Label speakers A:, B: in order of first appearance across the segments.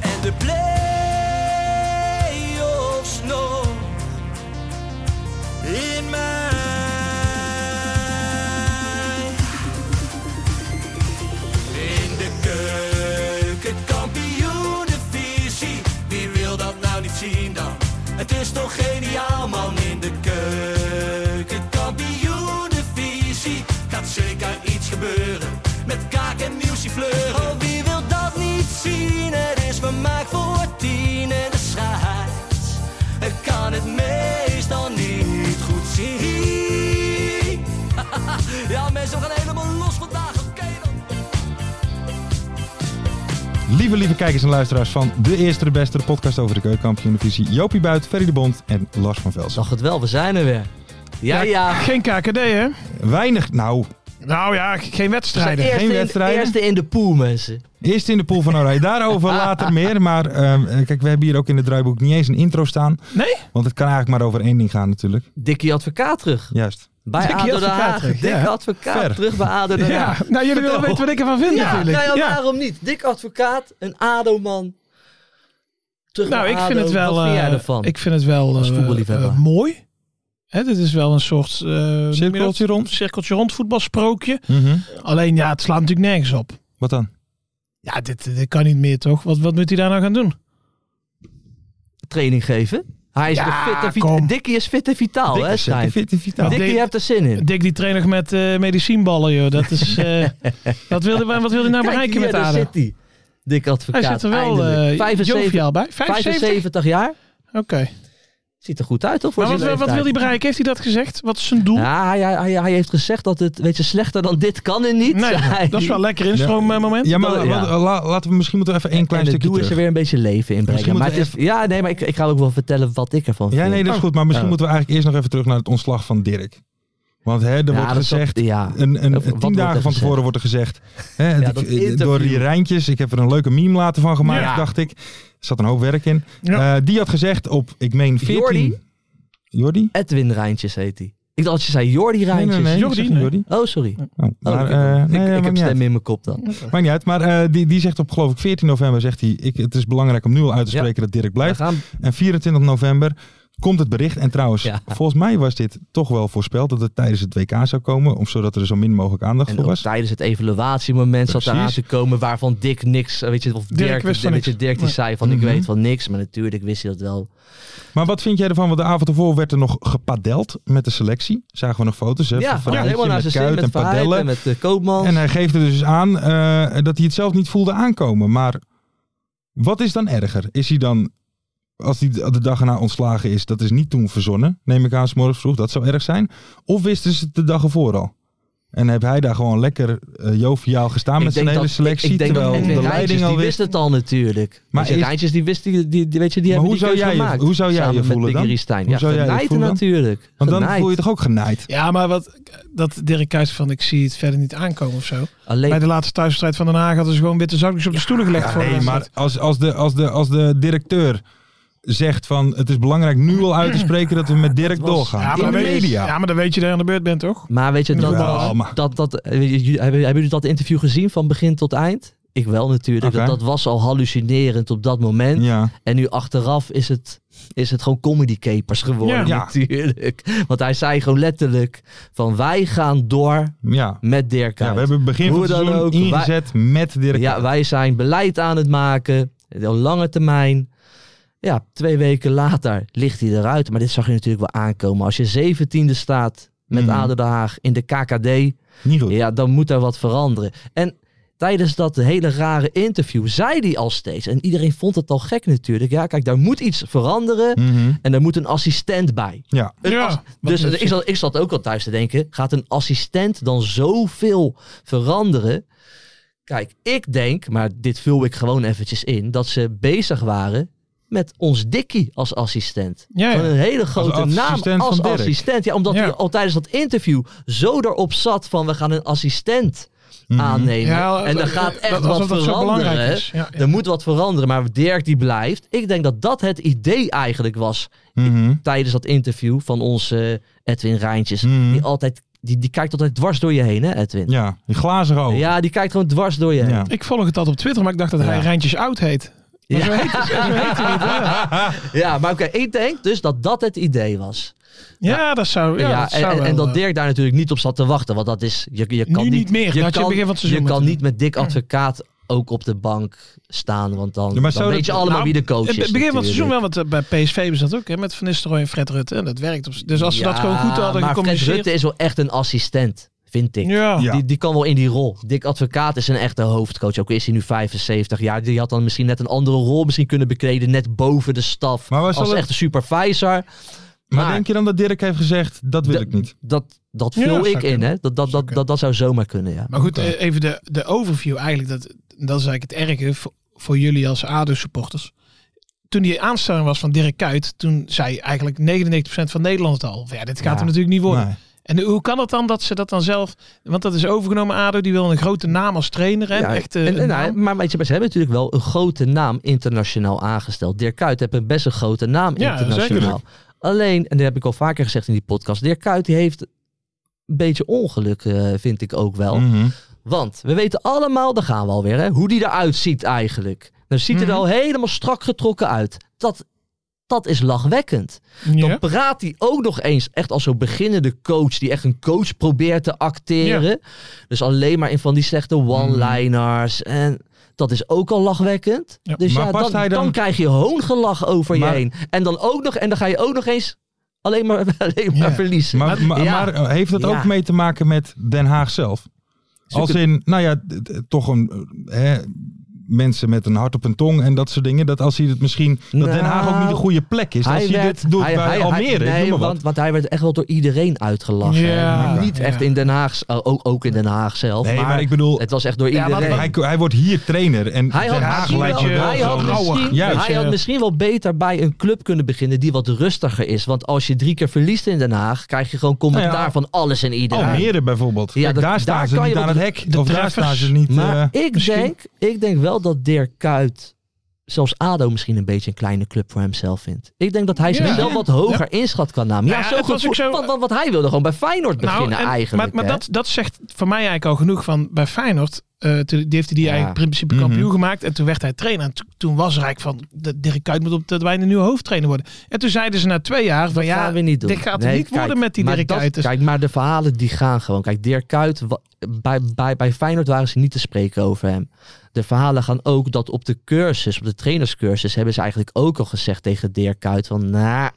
A: En de play-offs nog
B: In mij.
A: in de keuken, kampioenenvisie. Wie wil dat nou niet zien dan? Het is toch geniaal man in de keuken, kampioenenvisie. Gaat zeker iets gebeuren met kaak en muziek fleuren. Oh, wie wil dat niet zien? Het is vermaakt voor tien en de scheids. Ik kan het meestal niet goed zien. Ja, mensen, we gaan helemaal los vandaag. Oké dan.
C: Lieve, lieve kijkers en luisteraars van De Eerste de Beste, de podcast over de keukenkampioenvisie. Jopie Buit, Ferry de Bond en Lars van Velsen.
A: Zag het wel, we zijn er weer. Ja, ja.
D: Geen KKD, hè?
C: Weinig, nou,
D: Nou ja, geen wedstrijden.
C: Geen
A: Eerste in-
C: wedstrijden?
A: Eerste in de pool, mensen.
C: eerst in de pool van Oranje. Daarover later meer, maar ehm, eh, kijk, we hebben hier ook in het draaiboek niet eens een intro staan.
A: eh,
D: Nee?
C: Want het kan eigenlijk maar over één ding gaan natuurlijk.
A: Dikkie advocaat terug.
C: Juist.
A: Bij
D: Dikkie
A: ADO Den
D: advocaat
A: Haag.
D: terug,
A: Dik
D: ja.
A: advocaat
C: Ver.
A: terug bij ADO Den
D: Ja,
A: Haag.
D: nou jullie willen weten wat ik ervan vind
A: Ja,
D: natuurlijk.
A: nou ja, waarom niet? Dik advocaat, een ADO-man. Terug
D: Nou,
A: bij
D: ik vind
A: ADO.
D: het wel.
A: Wat vind jij
D: eh,
A: ervan?
D: Ik vind het wel
A: Als
D: eh,
A: voetballiefhebber.
D: eh, mooi. Hè, dit is wel een soort eh, hoe noem je dat?
C: Cirkeltje rond.
D: cirkeltje rond voetbalsprookje.
C: Mhm.
D: Alleen ja, het slaat natuurlijk nergens op.
C: Wat dan?
D: Ja, dit, dit kan niet meer toch? Wat, wat moet hij daar nou gaan doen?
A: Training geven. Hij is
D: Ja,
A: nog fit en vitaal.
D: kom.
A: Dikkie is fit en vitaal,
C: Dikke
A: hè,
C: zeker,
A: Stijn?
C: fit en vitaal.
D: Dik-
A: Dikkie
D: Dik-
A: heeft er zin in.
D: Dick die trainer met eh, medicijnballen, joh. Dat is. eh, wat wil hij wat wil hij nou
A: Kijk,
D: bereiken
A: hier,
D: met
A: daar
D: ADO?
A: zit hij. Dik advocaat.
D: Hij zit er wel
A: eindelijk.
D: eh
A: 75
D: joviaal bij. 75?
A: 75 jaar.
D: Oké.
A: Ziet er goed uit, toch? Voor
D: Maar wat,
A: zijn
D: wat wil
A: leeftijd.
D: hij bereiken? Heeft hij dat gezegd? Wat is zijn
E: Nou,
D: doel?
A: Ja, hij, hij, hij, hij heeft gezegd dat het, weet je, slechter dan dit kan en niet.
D: Nee,
A: Hij-
D: dat is wel een lekker instroommoment.
C: Ja, maar
A: Dat- ja.
C: wat- eh, la- laten we misschien moeten we even één klein
A: en het
C: stukje
A: doel is er
C: terug.
A: weer een beetje leven in brengen.
C: Misschien
A: Maar het
C: moeten
A: is, ja, nee, maar ik, ik ga ook wel vertellen wat ik ervan
C: Ja,
A: vind.
C: nee, dat is goed. Maar misschien
A: Oh.
C: moeten we eigenlijk eerst nog even terug naar het ontslag van Dirk. Want hè, er
A: Ja,
C: wordt
A: dat is dat-
C: gezegd,
A: ja.
C: een, een,
A: Wat wordt
C: tien
A: er
C: dagen van
A: gezegd?
C: tevoren wordt er gezegd. Hè, dat
A: dat
C: ik- eh,
A: interview.
C: door die Rijntjes, ik heb er een leuke meme later van gemaakt,
D: Ja.
C: dacht ik. Er zat een hoop werk in.
D: Ja.
C: Eh, die had gezegd op, ik meen 14...
A: Jordi?
C: Jordi?
A: Edwin Rijntjes heet hij. Ik dacht dat je zei Jordi
C: Nee,
A: Rijntjes.
C: nee, nee.
D: Jordi,
C: ik zeg
D: nee.
C: Jordi.
A: Oh, sorry.
C: Oh, maar,
A: ik-
C: eh,
A: ik
C: nee,
A: ik
C: maakt
A: heb
C: niet uit.
A: stem in mijn kop dan.
C: Maakt niet uit, maar eh, die, die zegt op geloof ik 14 november, zegt hij, ik, het is belangrijk om nu al uit te
A: Ja.
C: spreken dat Dirk
A: We
C: blijft.
A: gaan,
C: En 24 november komt het bericht. En trouwens,
A: Ja.
C: volgens mij was dit toch wel voorspeld dat het tijdens het WK zou komen. Om, zodat er zo min mogelijk aandacht
A: en
C: voor
A: ook
C: was.
A: tijdens het evaluatiemoment zat
C: Precies.
A: eraan te komen waarvan Dick niks, eh, weet je, of Dirk,
D: Dirk wist van
A: weet je,
D: niks.
A: Dirk die
D: Nee.
A: zei van
C: Mhm.
A: ik weet van niks, maar natuurlijk wist hij dat wel.
C: Maar wat vind jij ervan? Want de avond ervoor werd er nog gepadeld met de selectie. Zagen we nog foto's hè,
A: ja,
C: van
A: ja, helemaal naar zijn
C: met
A: zin
C: Kuit
A: met
C: en
A: Verheid en
C: padellen.
A: met eh, de Koopman.
C: En hij geeft er dus aan eh, dat hij het zelf niet voelde aankomen. Maar wat is dan erger? Is hij dan, als hij de dag erna ontslagen is, dat is niet toen verzonnen. Neem ik aan, 's morgens vroeg. Dat zou erg zijn. Of wisten ze het de dag ervoor al? En heb hij daar gewoon lekker eh, joviaal gestaan met zijn hele selectie. terwijl
A: Edwin
C: de
A: Rijntjes,
C: leiding al
A: die
C: wist.
A: wist het al natuurlijk.
C: Maar
A: Maar die
C: is-
A: Rijntjes, die wist die, die, die- weet je, die
C: Maar
A: hebben
C: hoe
A: die
C: zou
A: keuze
C: jij je-
A: gemaakt.
C: hoe zou jij
A: Samen
C: je
A: met
C: voelen
A: Dick
C: dan?
A: Riestein.
C: Hoe
A: Ja,
C: zou jij je
A: genaaid
C: voelen dan?
A: natuurlijk.
C: Want dan
A: Genaaid.
C: voel je toch ook genaaid?
D: Ja, maar wat, dat Dirk Kuyt van ik zie het verder niet aankomen of zo.
A: Alleen,
D: Bij de laatste thuiswedstrijd van Den Haag hadden ze gewoon witte zakjes op de stoelen gelegd.
C: Ja,
D: voor de
C: nee, maar
D: wedstrijd.
C: als, als, de, als, de, als de directeur zegt van het is belangrijk nu al uit te spreken dat we met Dirk
A: was-
C: doorgaan.
D: ja,
C: In
D: maar
C: de
D: weet je-
C: media.
D: ja, maar dan weet je dat je aan de beurt bent, toch?
A: maar weet je, dat,
C: Jawel, maar-
A: dat, dat, eh, jullie- hebben, hebben jullie dat interview gezien van begin tot eind?
E: Ik wel natuurlijk.
C: Oké.
E: Dat, dat was al hallucinerend op dat moment.
C: Ja,
E: En nu achteraf is het, is het gewoon comedy capers geworden
D: Ja.
C: Ja.
E: natuurlijk. Want hij zei gewoon letterlijk van wij gaan door
C: ja.
E: met Dirk
C: ja,
E: Kuyt.
C: we hebben het begin van
E: Hoe
C: het
E: dan
C: seizoen
E: ook, wij-
C: ingezet met Dirk
E: Ja,
C: Kuyt.
E: wij zijn beleid aan het maken. Op lange termijn. Ja, twee weken later ligt hij eruit. Maar dit zag je natuurlijk wel aankomen. Als je 17e staat met
C: Mhm.
E: Aden Den Haag in de KKD.
C: Niet goed.
E: Ja, dan moet daar wat veranderen. En tijdens dat hele rare interview zei hij al steeds. En iedereen vond het al gek natuurlijk. Ja, kijk, daar moet iets veranderen.
C: Mhm.
E: En daar moet een assistent bij.
C: Ja.
E: Een
D: Ja,
E: ass-
D: wat
E: dus
D: een
E: ik zat, ik zat ook al thuis te denken, gaat een assistent dan zoveel veranderen? Kijk, ik denk, maar dit vul ik gewoon eventjes in, dat ze bezig waren met ons Dikkie als assistent.
D: Ja,
E: Gewoon
D: ja.
E: een hele grote naam
C: assistent
E: als
C: van Dirk.
E: assistent. Ja, omdat
D: Ja.
E: hij al tijdens dat interview zo erop zat van we gaan een assistent
C: Mhm.
E: aannemen.
D: Ja,
E: en er
D: dat-
E: gaat
D: dat-
E: echt
D: alsof
E: wat
D: dat zo
E: veranderen.
D: belangrijk
E: hè.
D: is. Ja, ja.
E: Er moet wat veranderen, maar Dirk die blijft. Ik denk dat dat het idee eigenlijk was
C: Mhm.
E: tijdens dat interview van onze eh, Edwin Rijntjes.
C: Mhm.
E: Die, altijd, die, die kijkt altijd dwars door je heen, hè, Edwin?
C: Ja, die glazige ogen.
E: Ja, die kijkt gewoon dwars door je heen.
C: Ja.
D: Ik volg het altijd op Twitter, maar ik dacht dat hij
E: Ja.
D: Rijntjes Oud heet. Maar
E: Ja.
D: zo heet hij, zo heet hij niet. Ja,
E: Ja, maar oké, ik denk dus dat dat het idee was.
D: Ja, dat zou. Oh Ja,
E: Ja,
D: dat
E: en,
D: zou
E: en,
D: wel,
E: en dat
D: eh,
E: Dirk daar natuurlijk niet op zat te wachten. Want dat is, je, je
D: Nu
E: kan
D: niet meer, dat had je begin van het seizoen
E: je kan
D: moeten
E: niet met dik advocaat ook op de bank staan. Want dan,
C: Ja, maar
E: dan
C: zou
E: weet
C: dat-
E: je allemaal
D: nou,
E: wie de coach is.
D: Het begin van het
E: natuurlijk.
D: seizoen wel, want eh, bij PSV was dat ook, hè, met Van Nistelrooy en Fred Rutte. En dat werkt op. Dus als ze dat
E: Ja,
D: gewoon goed hadden
E: maar Fred
D: gecommuniceerd.
E: Rutte is wel echt een assistent, vind ik.
D: ja.
C: Ja.
E: Die, die kan wel in die rol. Dick Advocaat is een echte hoofdcoach. Ook al is hij nu 75 jaar. Die had dan misschien net een andere rol misschien kunnen bekleden. Net boven de staf.
C: Maar was
E: als
C: dat-
E: echte supervisor.
C: Maar,
E: Maar-
C: denk je dan dat Dirk heeft gezegd, dat wil
E: Dat-
C: ik niet?
E: Dat, dat
D: Ja,
E: vul
D: zou
E: ik in.
D: kunnen.
E: Hè? Dat, dat, dat, dat, dat zou zomaar kunnen, ja.
D: Maar goed, eh, even de, de overview eigenlijk. Dat, dat is eigenlijk het erge voor, voor jullie als ADO-supporters. Toen die aanstelling was van Dirk Kuyt, toen zei eigenlijk 99% van Nederland het al. Ja, dit gaat
E: Ja.
D: hem natuurlijk niet worden.
C: Nee.
D: En hoe kan het dan dat ze dat dan zelf... Want dat is overgenomen, ADO. Die wil een grote naam als trainer. Hè?
E: Ja,
D: Echt, eh,
E: en- en
D: een
E: hij-
D: naam.
E: maar weet je, maar ze hebben natuurlijk wel een grote naam internationaal aangesteld. Dirk Kuyt heeft een best een grote naam
D: Ja,
E: internationaal. Alleen, en dat heb ik al vaker gezegd in die podcast, Dirk Kuyt die heeft een beetje ongeluk, eh, vind ik ook wel.
C: Mhm.
E: Want we weten allemaal, daar gaan we alweer, hè, hoe die eruit ziet eigenlijk. Dan ziet hij er al helemaal strak getrokken uit. Dat, dat is lachwekkend. Dan
D: Ja.
E: praat hij ook nog eens echt als zo'n beginnende coach, die echt een coach probeert te acteren. Dus alleen maar in van die slechte one-liners. En dat is ook al lachwekkend.
D: Ja.
E: Dus
C: Maar
E: ja,
C: past
E: dan,
C: hij
E: dan...
C: dan-
E: krijg je hoongelach over
C: Maar-
E: je heen. En dan, ook nog, en dan ga je ook nog eens alleen maar, alleen maar
D: Ja.
E: verliezen.
C: Maar, maar,
E: Ja.
C: maar eh, heeft dat
E: Ja.
C: ook mee te maken met Den Haag zelf?
E: Zoek
C: Als
E: het-
C: in, nou ja, d- d- toch een, eh, hè, mensen met een hart op een tong en dat soort dingen. Dat als hij het misschien, dat Den Haag ook niet de
E: Nou,
C: goede plek is. Als hij,
E: werd-
C: dit doet
E: hij-
C: bij
E: hij- hij-
C: Almere, ik
E: nee,
C: noem maar wat.
E: want, want hij werd echt wel door iedereen uitgelachen.
D: Ja,
E: Niet
D: ja.
E: echt in Den Haag, s- oh, ook, ook in Den Haag zelf.
C: Nee,
E: maar,
C: maar, ik bedoel,
E: het was echt door
D: Ja, maar
E: iedereen.
C: hij, hij wordt hier trainer en
E: Hij had,
C: Den Haag
E: misschien wel,
C: lijkt je wel
E: hij, had
C: zo'n-
E: misschien,
C: Juist,
E: hij had
C: ja.
E: misschien wel beter bij een club kunnen beginnen die wat rustiger is. Want als je drie keer verliest in Den Haag, krijg je gewoon commentaar
C: Nou ja. Oh,
E: van alles en iedereen.
C: Almere bijvoorbeeld.
E: Ja,
C: Kijk,
E: dat-
C: daar staan
E: daar
C: ze
E: kan
C: niet
E: je
C: aan
E: wat-
C: het hek.
D: de
C: Of daar
D: treffers.
C: staan ze niet...
E: Maar
C: eh,
E: ik,
D: misschien-
E: denk, ik denk wel dat Dirk Kuyt, zelfs ADO misschien een beetje een kleine club voor hemzelf vindt. Ik denk dat hij zichzelf wat hoger inschat kan namen. Ja,
D: Nou ja,
E: zo
D: dat was
E: gevoel-
D: ook zo- Nou,
E: want, want, want hij wilde gewoon bij Feyenoord beginnen
D: en-
E: eigenlijk.
D: Maar, maar
E: hè?
D: dat, dat zegt voor mij eigenlijk al genoeg van bij Feyenoord. eh, toen- die heeft hij die
E: Ja.
D: eigenlijk in principe
C: Mhm.
D: kampioen gemaakt. En toen werd hij trainer. En to- toen was er eigenlijk van, de, Dirk Kuyt moet op dat wij een nieuwe hoofdtrainer worden. En toen zeiden ze na twee jaar van
E: Dat
D: ja,
E: gaan we niet doen.
D: dit gaat
E: Nee,
D: het niet
E: kijk,
D: worden met die
E: maar
D: Dirk
E: dat-
D: Kuyt. Dus-
E: Kijk, maar de verhalen die gaan gewoon. Kijk, Dirk Kuyt, wa- bij, bij, bij Feyenoord waren ze niet te spreken over hem. De verhalen gaan ook dat op de cursus, op de trainerscursus, hebben ze eigenlijk ook al gezegd tegen Dirk Kuyt van, nou,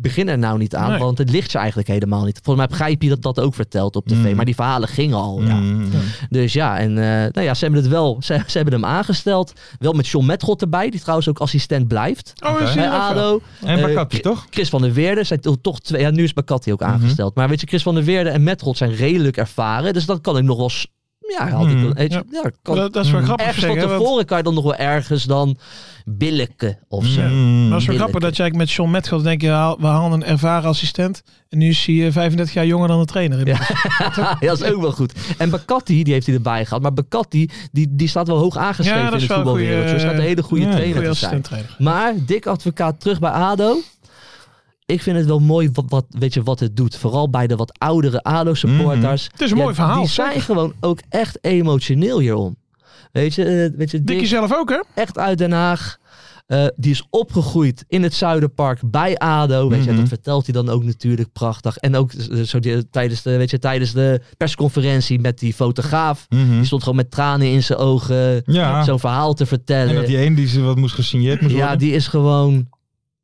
E: begin er nou niet aan,
D: Nee.
E: want het ligt ze eigenlijk helemaal niet. Volgens mij heb Gijpie dat, dat ook verteld op tv,
C: Mm.
E: maar die verhalen gingen al. Ja.
C: mm,
E: Dus ja, en eh, nou ja, ze hebben het wel, ze, ze hebben hem aangesteld. Wel met John Metgod erbij, die trouwens ook assistent blijft.
D: oh, is hij
E: Bij
D: er nog wel?
E: ADO.
C: En
E: Eh,
C: Bakatje, toch?
E: Chris van der Weerde zijn toch- toch twee. Ja, nu is Bakati
D: Mhm.
E: ook aangesteld. Maar weet je, Chris van der Weerde en Metrold zijn redelijk ervaren. Dus dan kan ik nog wel. s- Ja, had ik
C: Mhm.
E: wel- weet je, ja, kan,
D: Dat, dat is wel
C: Mm.
D: grappig
E: ergens van
D: zeggen. want-
E: tevoren kan je dan nog wel ergens dan billijken of zo.
C: Mm.
D: maar het is wel
E: Billijke.
D: grappig dat je eigenlijk met John Metgold denk je, haal- we halen een ervaren assistent. En nu is hij eh, 35 jaar jonger dan de trainer.
E: Ja. ja, dat is ook wel goed. En Bakati, die heeft hij erbij gehad. Maar Bakati, die, die staat wel hoog aangeschreven
D: Ja, dat
E: in
D: is
E: het
D: wel een
E: voetbalwereldje.
D: goeie-
E: Dus staat een hele goede
C: Ja,
E: trainer
D: Goeie
E: te zijn.
D: assistent trainer.
E: Maar dik advocaat terug bij ADO. Ik vind het wel mooi wat, wat, weet je, wat het doet. Vooral bij de
D: Mhm.
E: wat oudere ADO-supporters.
D: Het is een mooi verhaal,
E: Die
D: zeker.
E: zijn gewoon ook echt emotioneel hierom. Weet je, eh, weet je
D: Dikkie
E: Dick,
D: zelf ook, hè?
E: echt uit Den Haag. Eh, die is opgegroeid in het Zuiderpark bij ADO. Weet je,
C: Mhm.
E: dat vertelt hij dan ook natuurlijk prachtig. En ook eh, zo die- tijdens, de, weet je, tijdens de persconferentie met die fotograaf.
C: Mhm.
E: Die stond gewoon met tranen in zijn ogen
C: Ja.
E: zo'n verhaal te
C: En
E: vertellen.
C: dat die een die ze wat moest gesigneerd moest
E: Ja,
C: worden.
E: die is gewoon,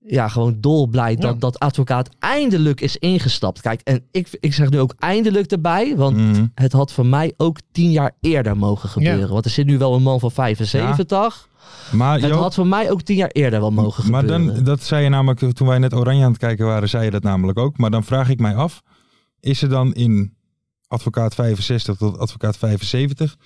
E: ja, gewoon dolblij dat
D: Ja.
E: dat advocaat eindelijk is ingestapt. Kijk, en ik, ik zeg nu ook eindelijk erbij, want
C: Mhm.
E: het had voor mij ook tien jaar eerder mogen gebeuren.
D: Ja.
E: Want er zit nu wel een man van 75.
C: Maar,
E: Het
C: Joop,
E: had voor mij ook tien jaar eerder wel mogen
C: maar
E: gebeuren.
C: dan, dat zei je namelijk, eh, toen wij net Oranje aan het kijken waren, zei je dat namelijk ook. Maar dan vraag ik mij af, is er dan in advocaat 65 tot advocaat 75...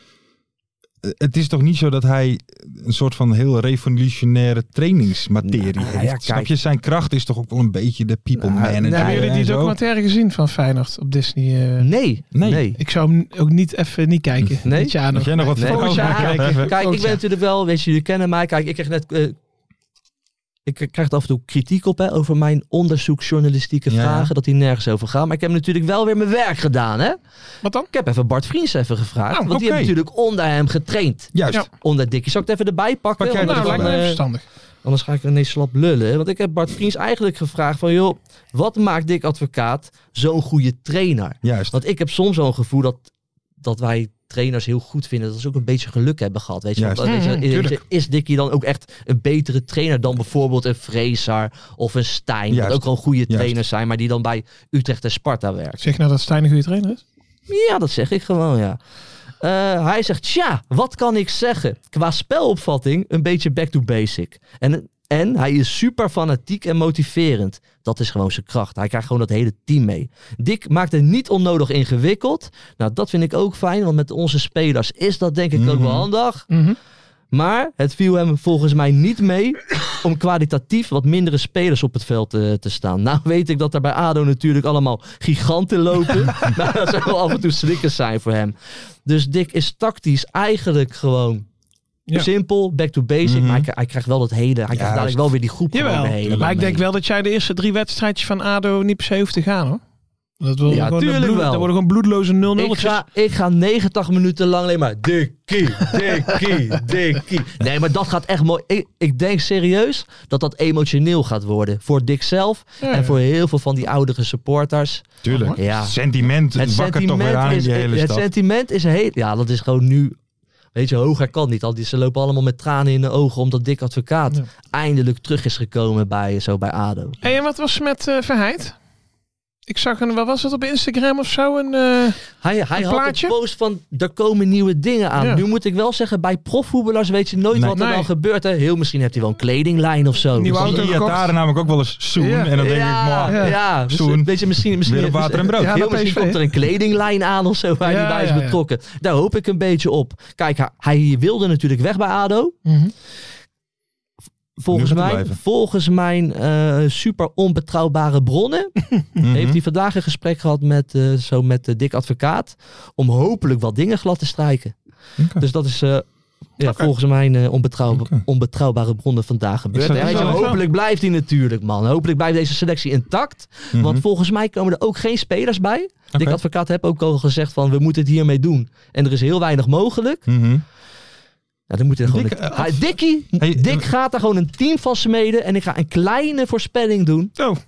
C: eh, Het is toch niet zo dat hij een soort van heel revolutionaire trainingsmaterie
E: Nou, ja,
C: heeft.
E: kijk.
C: Snap je? Zijn kracht is toch ook wel een beetje de people
E: Nou,
C: manager.
E: nou,
D: Hebben
C: en
D: jullie die
C: zo.
D: documentaire gezien van Feyenoord op Disney? eh?
E: Nee,
C: Nee.
E: nee.
D: Ik zou hem ook niet even niet kijken.
E: Nee?
D: Dit jaar
C: Had
D: nog.
C: jij nog wat
E: Nee.
C: foto's
D: Volgend jaar
C: maken?
D: kijken.
C: Even-
E: Kijk, ik ben
D: Ja.
E: natuurlijk wel, weet je, jullie kennen mij. Kijk, ik krijg net... eh, ik krijg er af en toe kritiek op hè, over mijn onderzoeksjournalistieke
C: Ja, ja.
E: vragen. Dat die nergens over gaan. Maar ik heb natuurlijk wel weer mijn werk gedaan. Hè?
D: Wat dan?
E: Ik heb even Bart Vriends even gevraagd.
C: Oh,
E: want die
C: oké.
E: heeft natuurlijk onder hem getraind.
C: Juist.
D: Ja.
E: Onder Dikkie. Zal ik het even erbij pakken?
C: Pak jij
E: Anders
D: Nou,
C: ervan
D: lijkt
E: dan,
D: me
E: eh,
D: verstandig.
E: anders ga ik ineens slap lullen. Want ik heb Bart Vriends eigenlijk gevraagd van... joh, wat maakt Dick Advocaat zo'n goede trainer?
C: Juist.
E: Want ik heb soms wel een gevoel dat, dat wij trainers heel goed vinden. Dat ze ook een beetje geluk hebben gehad. Weet je,
C: Juist.
E: Want, eh, weet je,
D: Mm,
E: eh,
D: tuurlijk.
E: is Dickie dan ook echt een betere trainer dan bijvoorbeeld een Fraser of een Stijn?
C: Juist.
E: Dat ook gewoon goede
C: Juist.
E: trainers zijn, maar die dan bij Utrecht en Sparta werken.
D: Zeg nou dat Stijn een goede trainer is?
E: Ja, dat zeg ik gewoon, ja. Eh, hij zegt, tja, wat kan ik zeggen? Qua spelopvatting een beetje back to basic. En, en hij is super fanatiek en motiverend. Dat is gewoon zijn kracht. Hij krijgt gewoon dat hele team mee. Dick maakt het niet onnodig ingewikkeld. Nou, dat vind ik ook fijn, want met onze spelers is dat denk ik ook
C: Mhm.
E: wel handig. Maar het viel hem volgens mij niet mee om kwalitatief wat mindere spelers op het veld eh, te staan. Nou weet ik dat er bij ADO natuurlijk allemaal giganten lopen. maar dat zou wel af en toe slikkers zijn voor hem. Dus Dick is tactisch eigenlijk gewoon
D: Ja.
E: simpel, back to basic.
C: Mhm.
E: Maar hij, hij krijgt wel dat hele, hij krijgt dadelijk wel weer die groep
D: Jawel.
E: gewoon mee.
D: Maar ik denk wel dat jij de eerste drie wedstrijdjes van ADO niet per se hoeft te gaan hoor. Dat worden,
E: Ja,
D: gewoon,
E: tuurlijk
D: bloed-
E: wel.
D: dat worden gewoon bloedloze 0 0
E: Ik ga, ik ga 90 minuten lang alleen maar Dikkie, Dikkie, Dikkie. Nee, maar dat gaat echt mooi. Ik, ik denk serieus dat dat emotioneel gaat worden. Voor Dick zelf en voor heel veel van die oudere supporters.
C: Tuurlijk.
E: Ja.
C: Sentiment
E: Het
C: wakker toch weer aan
E: sentiment
C: in
E: is,
C: die hele
E: het
C: stad.
E: sentiment is heel... Ja, dat is gewoon nu... Weet je, hoger kan niet. Al die, ze lopen allemaal met tranen in de ogen omdat Dick Advocaat
D: Ja.
E: eindelijk terug is gekomen bij, zo bij ADO.
D: Hey, en wat was er met eh Verheid? Ik zag een, wat was het op Instagram of zo? Een, eh,
E: Hij, hij
D: Een
E: had
D: plaatje?
E: een post van, er komen nieuwe dingen aan.
D: Ja.
E: Nu moet ik wel zeggen, bij profvoetballers weet je nooit
C: Nee.
E: wat er
D: Nee.
E: dan gebeurt. Hè. Heel misschien hebt hij wel een kledinglijn of zo.
D: Nieuwe
E: Dus
C: Want
D: auto
C: die
D: gekocht.
C: Iataren namelijk ook wel eens zoen.
D: Ja.
C: En dan denk
E: ja,
C: ik, maar,
E: ja, Dus,
C: Zoen.
E: weet je, misschien, misschien
C: weer op water en brood.
D: Ja,
E: heel
D: bij
E: misschien
D: PSV.
E: komt er een kledinglijn aan of zo waar
D: Ja,
E: hij bij is
D: ja, ja.
E: betrokken. Daar hoop ik een beetje op. Kijk, hij, hij wilde natuurlijk weg bij ADO.
D: Mhm.
E: Volgens
C: Nu gaat hij
E: mij,
C: blijven.
E: volgens mijn eh, super onbetrouwbare bronnen
C: mhm.
E: heeft hij vandaag een gesprek gehad met, eh, zo met de Dick Advocaat. Om hopelijk wat dingen glad te strijken.
C: Oké.
E: Dus dat is eh, ja, volgens mijn eh, onbetrouw-
C: Oké.
E: onbetrouwbare bronnen vandaag gebeurd.
C: zou
E: En
C: het
E: weet
C: wel
E: je,
C: even-
E: hopelijk blijft hij natuurlijk, man. Hopelijk blijft deze selectie intact.
C: Mhm.
E: Want volgens mij komen er ook geen spelers bij. Dick
C: Oké.
E: Advocaat heeft ook al gezegd van we moeten het hiermee doen. En er is heel weinig mogelijk.
C: Mhm.
E: Nou, dan moet hij er gewoon
C: Dick,
E: een-
C: eh,
E: Hij- Dickie,
C: Hey,
E: Dick
C: eh,
E: gaat er gewoon een team van smeden. En ik ga een kleine voorspelling doen.
D: Oh.
E: We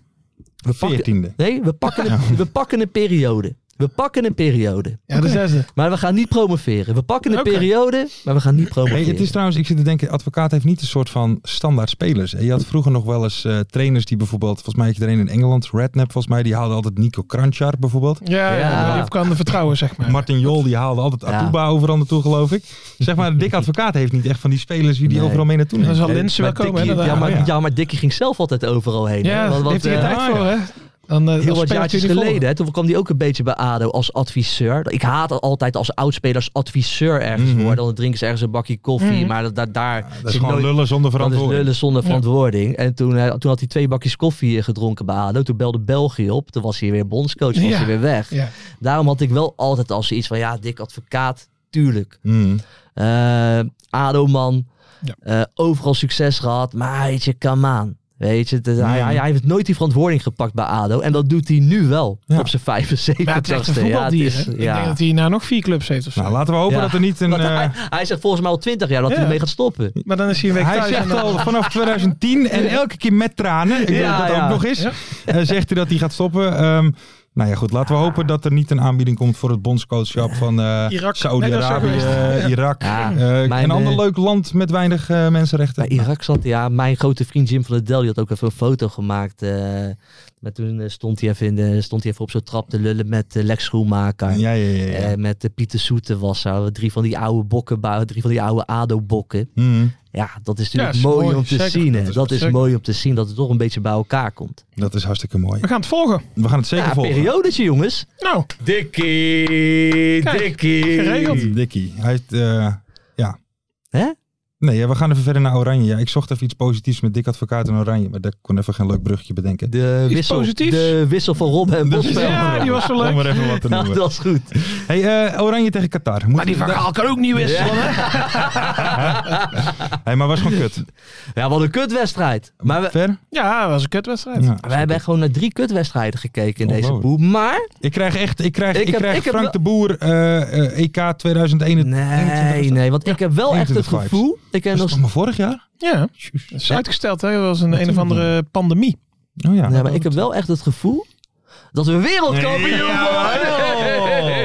E: pakken,
C: Veertiende.
E: Nee, we pakken, een, we pakken een periode. We pakken een periode.
D: Ja, de zesde.
E: Maar we gaan niet promoveren. We pakken een
D: Oké.
E: periode, maar we gaan niet
C: Hey,
E: promoveren.
C: het is trouwens, ik zit te denken, advocaat heeft niet een soort van standaard spelers. Je had vroeger nog wel eens eh, trainers die bijvoorbeeld, volgens mij had je er een in Engeland, Redknapp volgens mij, die haalde altijd Nico Kranjčar bijvoorbeeld.
D: Ja,
E: Ja.
D: je kan vertrouwen zeg maar.
C: Martin Jol die haalde altijd
E: Ja.
C: Atuba overal naartoe geloof ik. Zeg maar, Dick Advocaat heeft niet echt van die spelers die die
E: Nee.
C: overal mee naartoe
D: Dan
C: neemt.
D: zal
E: Nee,
D: Linsen wel
C: maar
D: komen.
C: Dickie-
D: hè,
E: ja,
D: daarna.
E: maar,
C: ja.
E: ja, maar Dickie ging zelf altijd overal heen. hè?
D: Ja,
E: Want-
D: daar
E: want,
D: heeft hij
E: eh,
D: geen tijd voor, hè? Dan, eh,
E: Heel
D: dan
E: wat
D: speelt
E: jaartjes
D: hij niet vol.
E: geleden, hè, toen kwam hij ook een beetje bij ADO als adviseur. Ik haat al- altijd als oudspelers adviseur ergens
C: Mhm.
E: worden. Dan drinken ze ergens een bakje koffie,
D: Mhm.
E: maar dat, dat- daar
C: Dat is
E: zit
C: gewoon
E: nooit-
C: lullen zonder
E: dat is
C: verantwoording.
E: lullen zonder verantwoording. En toen, eh, toen had hij twee bakjes koffie eh, gedronken bij ADO. Toen belde België op, toen was hij weer bondscoach, was
D: Ja.
E: hij weer weg.
D: Ja.
E: Daarom had ik wel altijd als iets van, ja, dik advocaat, tuurlijk.
C: Mhm.
E: Eh, ADO-man.
D: Ja.
E: Eh, overal succes gehad. Maar weet je, come on. Weet je, dat- hij,
C: Ja.
E: hij, hij heeft nooit die verantwoording gepakt bij ADO. En dat doet hij nu wel,
C: Ja.
E: op zijn
D: Maar het is echt
E: 75ste.
D: een
E: het
D: voetbaldier.
E: is-
D: hè? Ik denk dat hij nou nog vier clubs heeft of zo.
C: Nou, laten we hopen
E: Ja.
C: dat er niet een...
E: Want
C: eh,
E: hij, hij zegt volgens mij al 20 jaar dat
D: Ja.
E: hij ermee gaat stoppen.
D: maar dan is hij een week
C: hij
D: thuis. en
C: zegt
D: dan-
C: al vanaf 2010 en elke keer met tranen, ik weet
E: Ja,
C: dat
E: ja.
C: ook nog eens,
D: Ja.
C: eh, zegt hij dat hij gaat stoppen. Ehm, nou ja, goed, laten we hopen dat er niet een aanbieding komt voor het bondscoachschap van eh,
D: Irak.
C: Saudi-Arabië,
D: Nee, dat zou
C: eh, Irak.
E: Ja,
C: eh,
E: mijn,
C: een ander
E: eh,
C: leuk land met weinig eh, mensenrechten.
E: Bij Irak zat hij, ja, mijn grote vriend Jim van der Del, die had ook even een foto gemaakt. eh, maar toen eh, stond hij even, in de, stond hij even op zo'n trap te lullen met eh, Lex Schoenmaker.
C: Ja, ja, ja. ja.
E: Eh, met eh, Pieter Soete was er. Drie van die oude bokken, bou- drie van die oude ADO-bokken.
C: Hmm,
E: Ja, dat is natuurlijk
D: Ja, is
E: mooi,
D: mooi,
E: om te
D: zeker.
E: zien. hè.
D: Dat
E: Dat
D: is
E: is,
D: zeker.
E: mooi om te zien dat het toch een beetje bij elkaar komt.
C: dat is hartstikke mooi.
D: We gaan het volgen.
C: We gaan het zeker
E: Ja,
C: volgen.
E: periodetje jongens.
D: Nou,
E: Dikkie,
D: Kijk, geregeld.
C: Mm, Dikkie. Hij heeft, eh, ja.
E: Hè?
C: Nee, ja, we gaan even verder naar Oranje. Ja, ik zocht even iets positiefs met Dick Advocaat en Oranje, maar daar kon even geen leuk brugje bedenken.
E: De
D: Iets
E: Eh, wissel,
D: positiefs?
E: de wissel van Robben en Bosveld.
D: ja, die was wel
C: Om
D: leuk.
C: maar even wat te
E: Ja,
C: noemen.
E: dat is goed.
C: Hey, eh, Oranje tegen Qatar. Moet
D: Maar die
C: daar-
D: verhaal kan ook niet wisselen. hè?
C: Hey, maar was gewoon kut.
E: Ja, wat een kutwedstrijd. Maar we,
C: Ver?
D: Ja, dat was een kutwedstrijd.
C: Ja.
E: wij hebben echt gewoon naar drie kutwedstrijden gekeken in deze
C: Ongelooflijk.
E: pool. Maar,
C: Ik krijg echt, ik krijg, ik
E: Ik heb-
C: krijg
E: ik heb
C: Frank
E: wel-
C: de Boer eh, eh, EK 2021.
E: nee, nee. Want ik heb wel echt het
C: 21 vibes.
E: gevoel... Ik heb
C: Was
E: nog,
C: het nog maar vorig jaar?
D: Ja, dat is uitgesteld. Hè? Dat was een, een of andere pandemie.
C: Oh ja.
E: ja, maar ik heb wel echt het gevoel... Dat we wereldkampioen worden!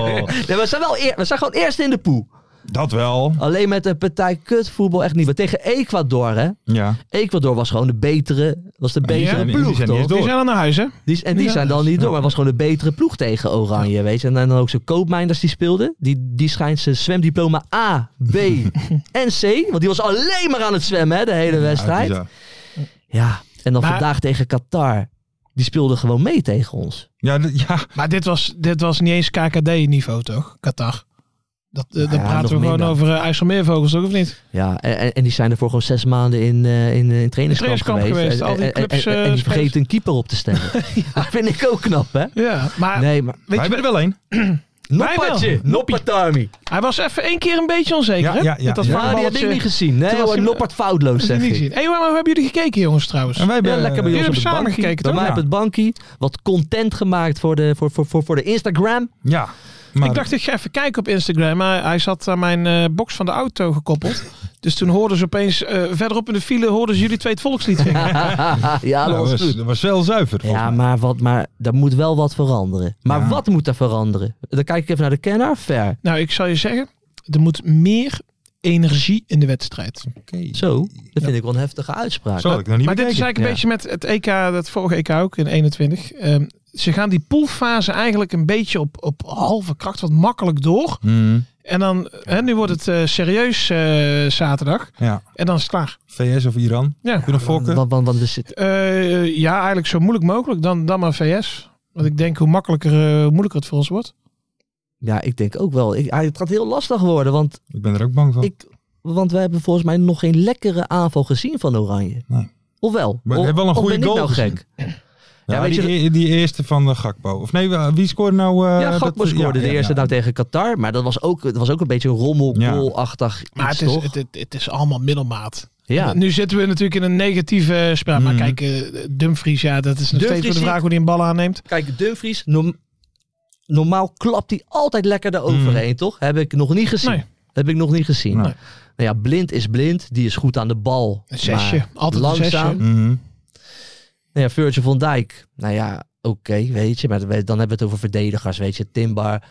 E: Nee, we, zijn wel eer, we zijn gewoon eerst in de pool.
C: Dat wel.
E: Alleen met de partij kutvoetbal echt niet. Maar tegen Ecuador, hè.
C: Ja.
E: Ecuador was gewoon de betere, was de betere
C: die- die
E: ploeg,
C: zijn niet
E: toch?
C: eens
D: Die zijn dan naar huis, hè?
E: Die, is- en die
D: Ja.
E: zijn dan niet door, maar was gewoon de betere ploeg tegen Oranje, weet je. En dan ook zo'n koopmijnders die speelden. Die, die schijnt zijn zwemdiploma A, B en C. Want die was alleen maar aan het zwemmen, hè, de hele wedstrijd. Ja,
C: bizar.
E: en dan
D: Maar-
E: vandaag tegen Qatar. Die speelden gewoon mee tegen ons.
C: Ja, d- ja.
D: Maar dit was, dit was niet eens KKD-niveau, toch? Qatar. Dat, eh,
E: Ja,
D: dan praten
E: nog
D: we gewoon
E: minder.
D: over eh, IJsselmeervogels, toch? Of niet?
E: Ja, en, en- en die zijn ervoor gewoon zes maanden in, eh, in, eh, in trainingskamp,
D: Trainingskamp geweest,
E: En-
D: al die
E: en- en-
D: clubs,
E: en,
D: eh,
E: en die
D: spelers.
E: vergeten een keeper op te stellen. Dat vind ik ook knap, hè?
D: Ja, maar
E: Nee, maar...
C: Wij hebben er wel één.
D: wel.
E: Noppertje, Noppertami.
D: hij was even één keer een beetje onzeker,
C: Ja,
D: hè?
C: ja, ja.
D: Met dat
C: Ja,
E: Ja, die heb ik
D: vaarballetje.
E: niet gezien. Nee,
D: Toen was
E: hoor,
D: hij-
E: Noppert foutloos,
D: Dat
E: zeg
D: heb ik
E: ik.
D: niet gezien. Hé, maar hoe hebben jullie gekeken, jongens, trouwens?
C: En wij hebben,
E: Ja, lekker bij
C: eh,
E: ons
D: jullie
E: op de
D: hebben
E: bank.
D: samen gekeken,
E: Bij
D: toch?
E: mij op
C: Ja.
E: het bankie. Wat content gemaakt voor de, voor, voor, voor, voor de Instagram.
C: Ja. Maar,
D: Ik dacht, ik ga even kijken op Instagram. Maar hij zat aan mijn eh, box van de auto gekoppeld. Dus toen hoorden ze opeens, eh, verderop in de file, hoorden ze jullie twee het volkslied zingen.
E: ja, dat
C: nou,
E: was
C: was,
E: goed.
C: dat was wel zuiver. volgens
E: Ja,
C: mij.
E: maar, wat, maar daar moet wel wat veranderen. Maar
C: Ja.
E: wat moet er veranderen? Dan kijk ik even naar de kenner. Ver.
D: nou, ik zal je zeggen, er moet meer energie in de wedstrijd.
C: Oké.
E: Zo, dat vind ik wel een heftige uitspraak.
C: Zo had ik nog niet
D: maar dit is
C: bekeken.
D: eigenlijk een beetje met het EK, dat vorige EK ook in 21. Ehm, ze gaan die poolfase eigenlijk een beetje op, op halve kracht wat makkelijk door.
C: Hmm,
D: En dan, hè, nu wordt het eh, serieus eh, zaterdag.
C: ja.
D: En dan is het klaar.
C: VS of Iran?
D: Ja.
C: Kun je nog fokken?
E: Want, want, want we zitten...
D: Eh, ja, eigenlijk zo moeilijk mogelijk. Dan, dan maar VS. Want ik denk hoe makkelijker, eh, hoe moeilijker het voor ons wordt.
E: Ja, ik denk ook wel. Ik, ah, het gaat heel lastig worden, want,
C: Ik ben er ook bang van.
E: ik, want we hebben volgens mij nog geen lekkere aanval gezien van Oranje.
C: Nee.
E: Of wel?
C: Maar we
E: Of-
C: hebben wel een
E: of
C: goede
E: ben ik
C: goal
E: nou
C: gezien.
E: gek?
C: ja,
E: ja, weet
C: die, e-, die eerste van eh, Gakpo. Of nee, eh, wie scoorde nou? eh,
E: ja, Gakpo
C: dat-
E: scoorde
C: ja,
E: de
C: ja,
E: eerste
C: ja.
E: nou tegen Qatar. Maar dat was ook, het was ook een beetje een
C: Ja.
E: rommel-goal-achtig
D: Maar
E: iets,
D: het is,
E: toch?
D: het, het, het is allemaal middelmaat.
E: ja. Hmm.
D: Nu zitten we natuurlijk in een negatieve spraak. Maar
C: Mm.
D: kijk, eh, Dumfries, ja, dat is nog
E: Dumfries
D: steeds de vraag
E: zit-
D: hoe hij een bal aanneemt.
E: Kijk, Dumfries, norm- normaal klapt hij altijd lekker eroverheen, toch? Heb ik nog niet gezien.
D: Mm. Nee.
E: Heb ik nog niet gezien.
C: Nee.
E: Nou ja, blind is blind. Die is goed aan de bal.
D: Een zesje.
E: Maar
D: Altijd een
E: langzaam.
D: zesje.
C: Mhm.
E: Nou ja, Virgil van Dijk. Nou ja, oké, weet je. Maar dan hebben we het over verdedigers, weet je. Timbar.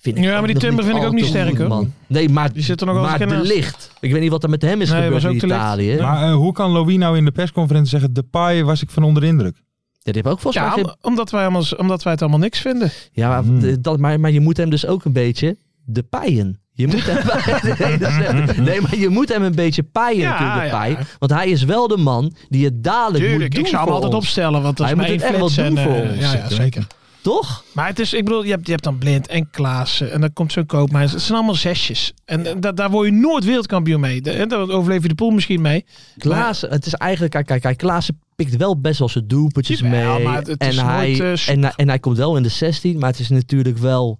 E: Vind ik
D: Ja, maar
E: ook
D: die
E: nog
D: Timber vind ik
E: al
D: ook niet
E: te
D: sterk,
E: goed,
D: hoor.
E: man. Nee, maar,
D: Die zit er nog wel eens
E: maar
D: een keer
E: de
D: naast.
E: licht. Ik weet niet wat er met hem is
D: Nee,
E: gebeurd
D: was
E: in
D: ook te licht.
E: Italië.
C: Maar eh, hoe kan Louis nou in de persconferentie zeggen... Depay was ik van onder de indruk?
E: Ja, die heeft ook volgens
D: Ja,
E: mij geen
D: om- omdat wij, allemaal, omdat wij het allemaal niks vinden.
E: Ja, maar,
C: Hmm.
E: d- dat, maar, maar je moet hem dus ook een beetje de pijen. Je moet hem, nee, dat is- nee, maar je moet hem een beetje pijen,
D: Ja,
E: natuurlijk, de
D: ja.
E: pij. Want hij is wel de man die het dadelijk moet
D: Tuurlijk,
E: doen
D: ik zou hem
E: voor
D: altijd
E: ons.
D: opstellen. Want dat
E: Hij
D: is maar
E: moet
D: één
E: het echt wel
D: flits en,
E: doen voor
D: eh,
E: ons.
D: ja, ja, zeker.
E: Toch?
D: Maar het is, ik bedoel, je hebt, je hebt dan Blind en Klaassen. En dan komt zo'n koopmijs. Het zijn allemaal zesjes. En eh, da- daar word je nooit wereldkampioen mee. De- en Daar overleef je de pool misschien mee.
E: Klaassen, het is eigenlijk... Kijk, kijk, kijk Klaassen pikt wel best wel zijn doelpuntjes
D: Jawel,
E: mee.
D: maar het is
E: en,
D: nooit,
E: hij,
D: eh, super.
E: en, hij- en hij komt wel in de 16, maar het is natuurlijk wel...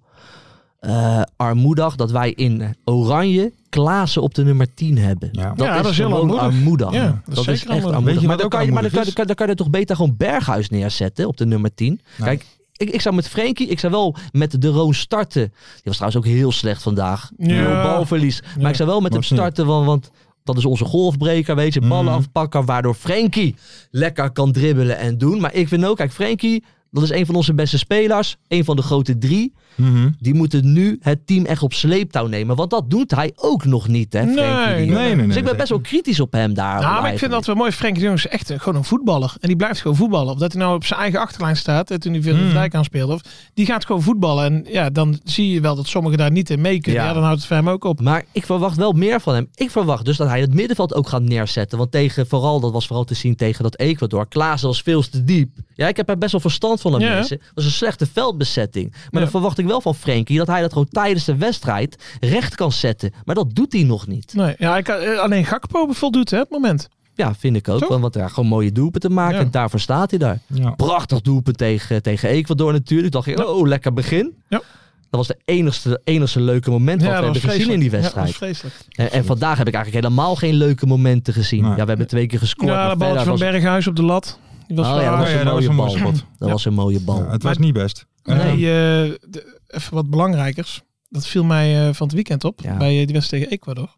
E: eh, armoedig dat wij in Oranje Klaassen op de nummer 10 hebben.
C: Ja.
D: Ja, dat is heel
E: gewoon
D: armoedig.
C: Ja,
D: Ja,
E: Dat is echt
D: armoedig.
C: Weet
E: armoedig.
C: je wat
E: Maar dan
C: ook
E: kan je- maar
C: armoedig
E: dan kan
C: is?
E: je- dan kan je toch beter gewoon Berghuis neerzetten op de nummer 10.
C: Ja.
E: Kijk, ik, ik zou met Frenkie, ik zou wel met de Roon starten. Die was trouwens ook heel slecht vandaag.
D: Ja.
E: Nul Balverlies. Maar
D: Ja.
E: ik zou wel met hem
C: Was niet.
E: starten, want, want dat is onze golfbreker, weet je. Ballen
C: Mhm.
E: afpakken, waardoor Frenkie lekker kan dribbelen en doen. Maar ik vind ook, kijk, Frenkie, dat is een van onze beste spelers. Een van de grote drie.
C: Mhm.
E: Die moeten nu het team echt op sleeptouw nemen. Want dat doet hij ook nog niet, hè,
D: Nee,
E: Frenkie de Jong.
C: Nee, nee, nee.
E: Dus ik ben
C: dat-
E: best wel kritisch op hem daar.
D: Ja, Nou, maar ik vind
E: eigenlijk.
D: dat wel mooi. Frenkie de Jong is echt een- gewoon een voetballer. En die blijft gewoon voetballen. Of dat hij nou op zijn eigen achterlijn staat. En toen hij Willem van
C: Hmm.
D: Dijk aanspeelde. Of, die gaat gewoon voetballen. En ja, dan zie je wel dat sommigen daar niet in mee kunnen. Ja,
E: Ja.
D: dan houdt het voor hem ook op.
E: Maar ik verwacht wel meer van hem. Ik verwacht dus dat hij het middenveld ook gaat neerzetten. Want tegen, vooral, dat was vooral te zien tegen dat Ecuador. Klaassen was veel te diep. Ja, ik heb er best wel verstand van hem.
D: Ja.
E: mensen. Dat was een slechte veldbezetting. Maar
D: Ja.
E: dan verwacht ik wel van Frenkie dat hij dat gewoon tijdens de wedstrijd recht kan zetten. Maar dat doet hij nog niet.
D: Nee, ja, ik, eh, alleen Gakpo voldoet hè, op het moment.
E: Ja, vind ik ook.
D: Toch?
E: Want Want ja, gewoon mooie doelpunten maken.
D: Ja.
E: En daarvoor staat hij daar.
C: Ja.
E: Prachtig doelpunt tegen, tegen Ecuador natuurlijk. Dacht ik, oh, lekker begin.
D: Ja.
E: Dat was de enigste, enigste leuke moment wat
D: ja,
E: we
D: was
E: hebben gezien in die wedstrijd.
D: Ja, dat was vreselijk.
E: En, en vandaag heb ik eigenlijk helemaal geen leuke momenten gezien.
C: Nee.
E: Ja, we hebben twee keer gescoord.
D: Ja,
E: maar
D: dat balletje
E: verder
D: van
E: was-
D: Berghuis op de lat. Die was
E: Oh ja,
D: raar.
E: dat was
C: Oh ja,
E: een
C: dat was
E: mooie
C: een
E: bal.
C: mooi schot.
E: Dat was een mooie bal.
C: Ja, het was niet best.
D: Nee,
C: Eh,
D: eh, de- even wat belangrijkers. Dat viel mij eh, van het weekend op
E: Ja.
D: bij eh, die wedstrijd tegen Ecuador.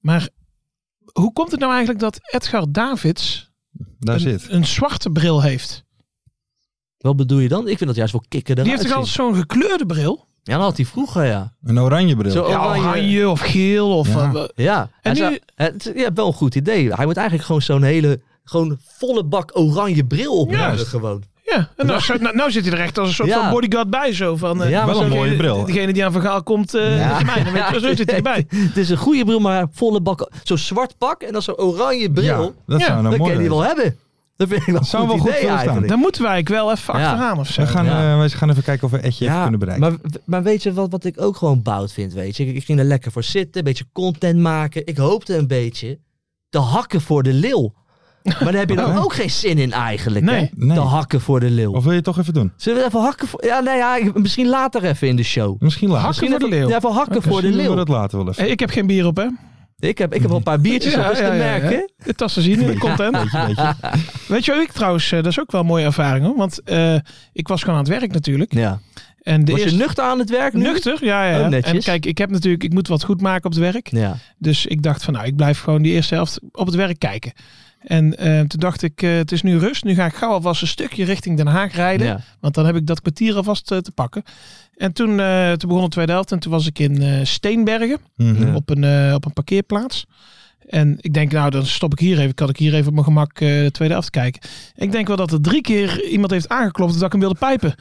D: Maar hoe komt het nou eigenlijk dat Edgar Davids
C: daar
D: een,
C: zit.
D: een zwarte bril heeft?
E: Wat bedoel je dan? Ik vind dat juist wel kicken
D: Die
E: eruit
D: heeft toch
E: zien.
D: altijd zo'n gekleurde bril?
E: Ja, dat had hij vroeger, ja.
C: Een oranje bril.
E: Zo-
D: Ja,
E: Oranje.
D: oranje of geel of...
C: Ja.
D: eh, eh,
E: Ja, hij
D: nu-
E: zou- het, ja, wel een goed idee. Hij moet eigenlijk gewoon zo'n hele, gewoon volle bak oranje bril op hebben
C: Juist.
E: gewoon.
D: ja. En nou, zo- nou, nou zit hij er echt als een soort
E: Ja.
D: van bodyguard bij. Zo van, eh,
E: Ja, maar
C: Wel een
E: zo-
C: mooie bril.
D: Degene die aan verhaal komt, eh
E: Ja.
D: is mij. Dan weet je, zo zit hij erbij.
E: Het is een goede bril, maar volle bak. Zo'n zwart pak en dan zo'n oranje
C: Ja,
E: bril.
C: dat
D: Ja,
C: zou nou
E: dat kan
C: mooi
E: je
C: zijn.
E: die wel hebben. Dat vind ik wel een
C: Zou
E: goed
C: wel goed
E: idee
C: voor hem staan.
E: eigenlijk.
D: Dan moeten wij eigenlijk wel even
E: Ja.
D: achteraan of zo.
C: We gaan,
E: Ja.
C: eh, wij gaan even kijken of we Edje even kunnen bereiken.
E: Maar, maar weet je wat, wat ik ook gewoon bout vind, weet je? Ik, ik ging er lekker voor zitten, een beetje content maken. Ik hoopte een beetje te hakken voor de leeuw. Maar daar heb je dan
C: Oh.
E: ook geen zin in eigenlijk,
D: Nee,
E: hè?
C: nee.
E: Te hakken voor de leeuw.
C: Of wil je het toch even doen?
E: Zullen we even hakken voor... Ja, nee, ja, ik- misschien later even in de show.
C: Misschien later.
D: Hakken
E: Misschien
D: voor de
E: even-
D: leeuw.
E: Ja, even hakken voor de
C: Misschien doen
E: leeuw.
C: we dat later wel even.
D: Eh, Ik heb geen bier op, hè?
E: Ik heb, ik heb al een paar biertjes op, dus te merken.
D: De tassen zien, de content.
C: Beetje, beetje.
D: Weet je wat ik trouwens, eh, dat is ook wel een mooie ervaring hoor. Want eh, ik was gewoon aan het werk natuurlijk.
E: Ja.
D: En de
E: Was je
D: eerste...
E: nuchter aan het werk nu?
D: Nuchter, ja, ja.
E: Oh, netjes.
D: en kijk, ik heb natuurlijk, ik moet wat goed maken op het werk.
E: Ja.
D: Dus ik dacht van, nou, ik blijf gewoon die eerste helft op het werk kijken. En eh, toen dacht ik, eh, het is nu rust. Nu ga ik gauw alvast een stukje richting Den Haag rijden.
E: ja.
D: Want dan heb ik dat kwartier alvast eh, te pakken. En toen, eh, toen begon de tweede helft. En toen was ik in eh, Steenbergen.
C: Mhm.
D: op, een, eh, op een parkeerplaats. En ik denk, nou, dan stop ik hier even. Kan ik hier even op mijn gemak eh, de tweede helft kijken. Ik denk wel dat er drie keer iemand heeft aangeklopt dat ik hem wilde pijpen.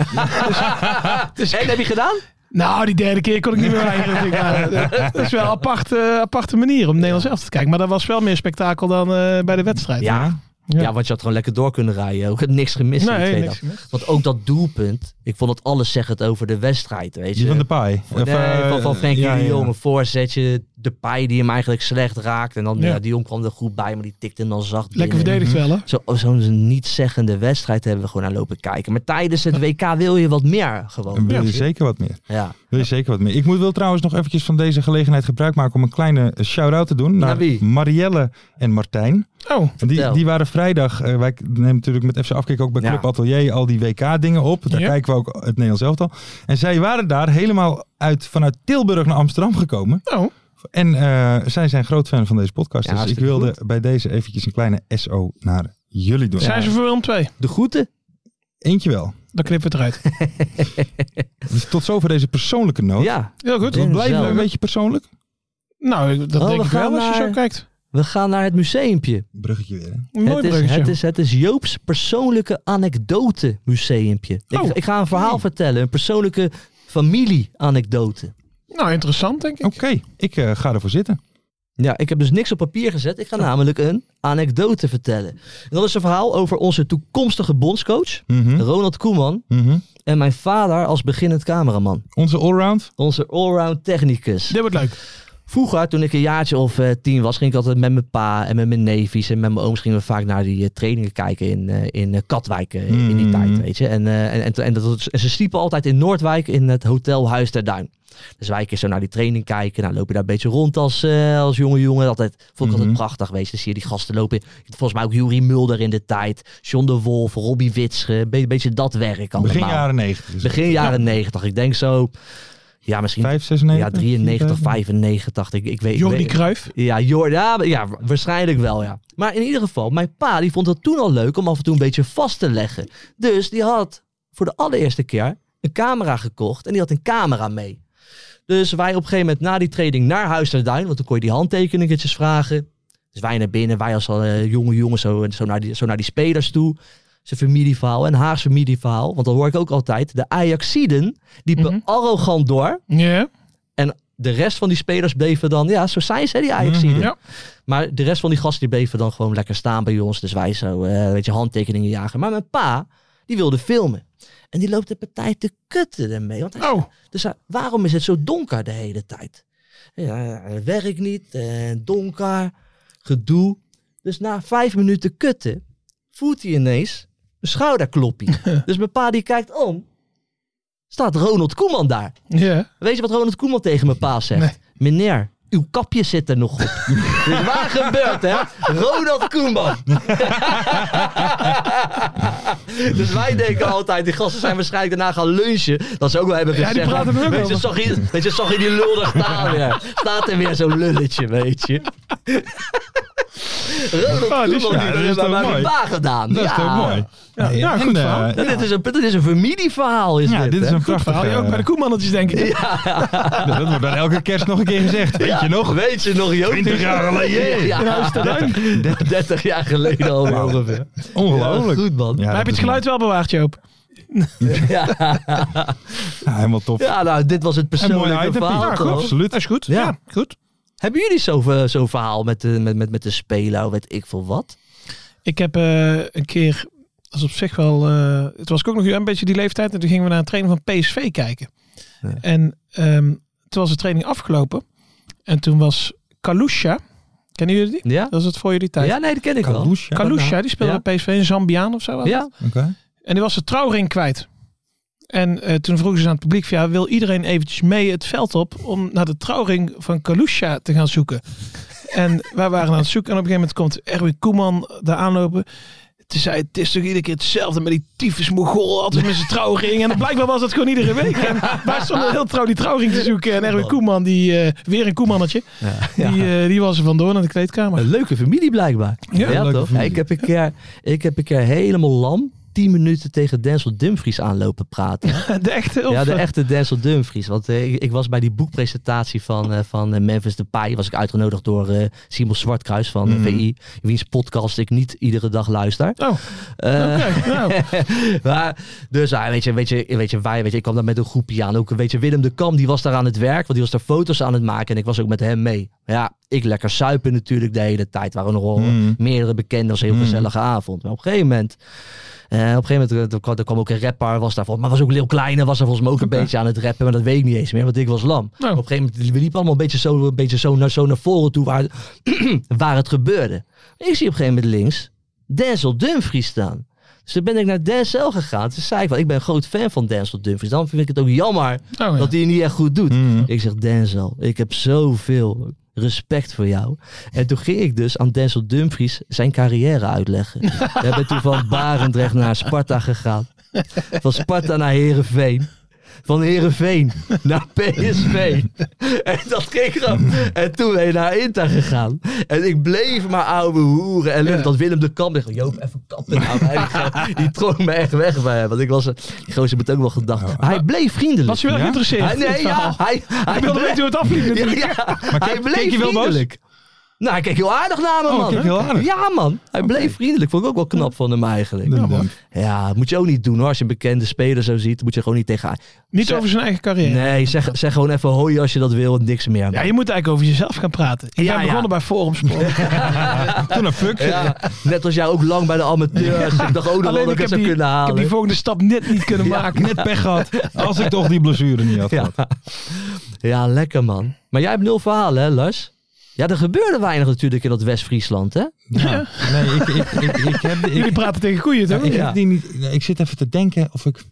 D: Dus-
E: En dat heb je gedaan?
D: nou, die derde keer kon ik niet meer weigeren. Ik denk, nou, eh, Dat is wel een apart, eh, aparte manier om Nederlands zelf te kijken. Maar dat was wel meer spektakel dan eh, bij de wedstrijd.
E: Ja.
D: Ja.
E: Ja. want je had gewoon lekker door kunnen rijden. Ook niks gemist in de
D: nee,
E: tweede
D: niks gemist.
E: Want ook dat doelpunt, ik vond het alles zeggend over de wedstrijd, weet
C: Die
E: je.
C: van de eh, paai.
E: Nee, van, van Frenkie de Jong, een voorzetje, de paai die hem eigenlijk slecht raakt. En dan,
D: Ja.
E: ja. de Jong kwam er goed bij, maar die tikte hem dan zacht
D: Lekker
E: binnen.
D: verdedigd wel,
E: Zo-
D: hè?
E: Zo'n niet-zeggende wedstrijd hebben we gewoon aan lopen kijken. Maar tijdens het WK wil je wat meer
C: En
E: gewoon.
C: wil je
E: Ja.
C: zeker wat meer.
E: Ja.
C: Wil je zeker wat meer. Ik moet wel trouwens nog eventjes van deze gelegenheid gebruik maken om een kleine eh, shout-out te doen naar,
E: Naar wie?
C: Marielle en Martijn.
D: Oh,
C: Die,
E: Vertel.
C: die waren vrijdag, eh, wij nemen natuurlijk met FC Afkik ook bij
E: Ja.
C: Club Atelier al die WK-dingen op. Daar
D: Ja.
C: kijken we ook het Nederlands elftal. En zij waren daar helemaal uit, vanuit Tilburg naar Amsterdam gekomen.
D: oh.
C: En eh, zij zijn groot fan van deze podcast.
E: Ja,
C: dus ik
E: hartstikke
C: wilde bij deze eventjes een kleine SO naar jullie doen.
D: Zijn ze voor Willem 2?
E: De groeten.
C: Eentje wel.
D: Dan knippen we het eruit.
C: Dus tot zover deze persoonlijke noot.
E: Ja,
D: Heel goed.
C: Want blijven we
E: zelf.
C: een beetje persoonlijk?
D: Nou, dat
E: Oh,
D: denk
E: we
D: ik wel
E: gaan
D: als je zo
E: naar-
D: kijkt.
E: we gaan naar het museumpje.
C: Bruggetje weer. hè?
D: Een mooi
E: het, is,
D: bruggetje.
E: het, is, het is Joop's persoonlijke anekdote museumpje.
D: Oh.
E: Ik, ik ga een verhaal vertellen, een persoonlijke familie-anekdote.
D: Nou, interessant denk ik.
E: Oh.
C: Oké, ik eh, ga ervoor zitten.
E: Ja, ik heb dus niks op papier gezet. Ik ga namelijk een anekdote vertellen. En dat is een verhaal over onze toekomstige bondscoach,
C: Mhm,
E: Ronald Koeman,
C: mhm.
E: en mijn vader als beginnend cameraman.
C: Onze allround.
E: Onze allround technicus.
D: Dit wordt leuk.
E: Vroeger, toen ik een jaartje of eh, tien was, ging ik altijd met mijn pa en met mijn neefjes en met mijn ooms gingen we vaak naar die eh, trainingen kijken in, eh, in eh, Katwijk eh, in die
C: Mm.
E: tijd, weet je. En, eh, en, en, en, dat, en ze sliepen altijd in Noordwijk in het hotel Huis der Duin. Dus wij een keer zo naar die training kijken. Nou, loop je daar een beetje rond als, eh, als jonge jongen. Altijd, vond ik altijd
C: Mhm.
E: prachtig geweest. Dan zie je die gasten lopen. Volgens mij ook Jurie Mulder in de tijd. John de Wolf, Robbie Witsche. Een be- beetje dat werk allemaal.
C: Begin jaren dus 90. Is het.
E: Begin jaren 90. Ik denk zo... Ja, misschien...
C: 5, 96?
E: Ja, 93, 95. Ik, ik weet, ik
D: Jordi
E: weet-
D: Cruijff.
E: ja, Jor- ja, ja, waarschijnlijk wel, ja. Maar in ieder geval, mijn pa die vond het toen al leuk om af en toe een beetje vast te leggen. Dus die had voor de allereerste keer een camera gekocht en die had een camera mee. Dus wij op een gegeven moment na die training naar Huis ter Duin, want dan kon je die handtekeningetjes vragen. Dus wij naar binnen, wij als eh, jonge jongens zo, zo, naar die, zo naar die spelers toe. Zijn familieverhaal en Haagse familieverhaal. Want dan hoor ik ook altijd, de Ajaxiden liepen
D: Mhm.
E: arrogant door.
D: Ja.
E: De rest van die spelers bleven dan, ja, zo zijn ze, hè, die Ajaxiden.
C: Mhm.
D: Ja.
E: Maar de rest van die gasten die bleven dan gewoon lekker staan bij ons. Dus wij zo, eh, weet je, handtekeningen jagen. Maar mijn pa, die wilde filmen. En die loopt de partij te kutten ermee. Want hij
D: Oh,
E: dus hij- waarom is het zo donker de hele tijd? Ja, eh, werk niet, eh, donker, gedoe. Dus na vijf minuten kutten voelt hij ineens een schouderkloppie. dus mijn pa die kijkt om, staat Ronald Koeman daar.
D: ja.
E: Weet je wat Ronald Koeman tegen mijn pa zegt? Meneer, uw kapje zit er nog op. dus waar gebeurt hè? Ronald Koeman. dus wij denken altijd, die gasten zijn waarschijnlijk daarna gaan lunchen. Dat ze ook wel hebben
D: Ja, die
E: gezegd.
D: praten er ook
E: weet, je,
D: over.
E: zag je, weet je, zag je die lullig daar weer. Staat er weer zo'n lulletje, weet je. Ronald
C: Ah, die is-
E: Koeman,
C: ja,
E: die
C: dat is toch
E: hebben bij mijn
C: mooi.
E: pa gedaan.
C: Dat is
E: Ja.
C: toch mooi.
D: Ja,
C: Nee,
D: ja,
C: en,
D: goed
C: eh,
E: Ja,
D: verhaal.
E: Dit is een, dit is een familieverhaal, is
C: ja,
E: dit,
C: dit is
E: hè?
C: een prachtig eh,
D: Verhaal je
E: eh,
D: ook bij de koemannetjes, denk ik.
C: Dat wordt dan elke kerst nog een keer gezegd. Weet je nog?
E: Weet je nog, Joop?
C: 20 jaar geleden.
E: Ja, 30, 30 jaar geleden al ongeveer.
C: Ongelooflijk.
E: Ja, goed,
C: Ja,
E: man.
D: maar
C: dat
D: heb je
C: is
D: het geluid wel bewaard, Joop?
E: Ja.
C: mooi. Ja, helemaal top.
E: ja, nou, dit was het
C: En mooi
E: persoonlijke
C: item,
E: verhaal,
C: Piet. Ja,
E: toch?
C: absoluut.
D: Dat is goed.
E: Ja.
D: goed.
E: Hebben jullie zo'n zo zo'n verhaal met de, met, met, met de speler, of weet ik veel wat?
D: Ik heb eh, een keer, dat is op zich wel, eh, het was ook nog een beetje die leeftijd. En toen gingen we naar een training van PSV kijken.
E: Ja.
D: En ehm, toen was de training afgelopen. En toen was Kalusha, kennen jullie die?
E: Ja?
D: Dat is het voor jullie tijd.
E: Ja, nee, dat ken ik wel.
C: Kalusha.
D: Kalusha, die speelde
E: Ja.
D: bij PSV, een Zambiaan of zo. was
E: Ja,
C: Oké.
D: En die was de trouwring kwijt. En eh, toen vroegen ze aan het publiek: van, ja, wil iedereen eventjes mee het veld op om naar de trouwring van Kalusha te gaan zoeken? en wij waren aan het zoeken en op een gegeven moment komt Erwin Koeman daar aanlopen. Toen zei hij, het is toch iedere keer hetzelfde met die tyfus mogol, altijd met zijn trouwring. En blijkbaar was dat gewoon iedere week. En wij stonden heel trouw die trouwring te zoeken. En Erwin Koeman, die, eh, weer een Koemannetje, die, eh, die was er vandoor naar de kleedkamer.
E: een leuke familie blijkbaar.
D: Ja,
C: een leuke
E: toch?
C: familie.
E: ik, heb een keer, ik heb een keer helemaal lam 10 minuten tegen Denzel Dumfries aanlopen praten.
D: De echte, of,
E: Ja, de
D: eh,
E: echte Denzel Dumfries. Want eh, ik, ik was bij die boekpresentatie van, eh, van eh, Memphis Depay. Was ik uitgenodigd door eh, Simon Zwartkruis van eh,
C: Mhm.
E: VI. Wiens podcast ik niet iedere dag luister.
D: Oh,
E: Eh,
D: oké, nou.
E: maar, dus ah, weet, je, weet, je, weet je, wij, weet je, ik kwam daar met een groepje aan. Ook weet je, Willem de Kam, die was daar aan het werk, want die was daar foto's aan het maken en ik was ook met hem mee. Maar ja, ik lekker suipen natuurlijk de hele tijd. Waren nog wel
C: Mm.
E: meerdere bekenden, was een heel
C: Mm.
E: gezellige avond. Maar op een gegeven moment, eh, op een gegeven moment eh, er kwam, er kwam ook een rapper, was daar volgens maar was ook Leeuw Kleine, was daar volgens mij ook een beetje aan het rappen, maar dat weet ik niet eens meer, want ik was
C: Oh.
E: lam.
D: Nou.
E: Op een gegeven moment we liepen allemaal een beetje zo, een beetje zo, naar, zo naar voren toe waar, waar het gebeurde. Ik zie op een gegeven moment links Denzel Dumfries staan. Dus toen ben ik naar Denzel gegaan. Toen zei ik wel, ik ben een groot fan van Denzel Dumfries. Dan vind ik het ook jammer
D: Oh, ja.
E: dat hij het niet echt goed doet.
C: Mhm.
E: Ik zeg, Denzel, ik heb zoveel respect voor jou. En toen ging ik dus aan Denzel Dumfries zijn carrière uitleggen. We hebben toen van Barendrecht naar Sparta gegaan. Van Sparta naar Herenveen. Van Herenveen naar PSV. En dat ging gewoon. En toen ben je naar Inter gegaan. En ik bleef maar ouwe hoeren. En dat Willem de Kamp dacht, Joop, even kappen nou. Hij- Die trok me echt weg bij hem. Want ik was, die gozer moet ook wel gedacht. Maar hij bleef vriendelijk.
D: was je wel
C: Ja?
D: geïnteresseerd?
E: Hij,
D: in
E: Ah, nee,
D: dit verhaal?
E: ja, hij, hij
D: wilde
E: bleef-
D: weten hoe het afliep
E: Ja,
D: natuurlijk.
E: ja, hij
C: keek-
E: bleef
C: keek hij wel boos?
E: vriendelijk. Nou, hij keek heel aardig naar me,
C: Oh,
E: man.
C: hij keek heel aardig.
E: Ja, man. Hij bleef vriendelijk. Vond ik ook wel knap van hem eigenlijk.
C: Ja, man.
E: Ja, moet je ook niet doen hoor. Als je een bekende speler zo ziet, moet je gewoon niet tegen...
D: Niet
E: Zeg-
D: over zijn eigen carrière.
E: Nee, zeg, zeg gewoon even hoi als je dat wil en niks meer.
D: Ja, je moet eigenlijk over jezelf gaan praten.
E: Ja,
D: Ik ben
E: ja.
D: begonnen bij Forumsport.
C: Toen een fuck.
E: Ja, net als jij ook lang bij de amateurs. Ik dacht ook nog wel
D: Alleen
E: dat ik het
D: ik heb,
E: zou
D: die, ik
E: kunnen
D: heb
E: halen.
D: die volgende stap net niet kunnen maken.
C: Net pech gehad. Als ik toch die blessure niet had
E: Ja.
C: gehad.
E: Ja, lekker man. Maar jij hebt nul verhalen hè, Lars? Ja, er gebeurde weinig natuurlijk in dat West-Friesland, hè?
C: Ja. Nee, ik, ik, ik, ik heb... Ik,
D: Jullie praten tegen koeien,
C: Ja,
D: toch?
C: ik,
E: Ja.
C: heb die niet, nee, ik zit even te denken of ik...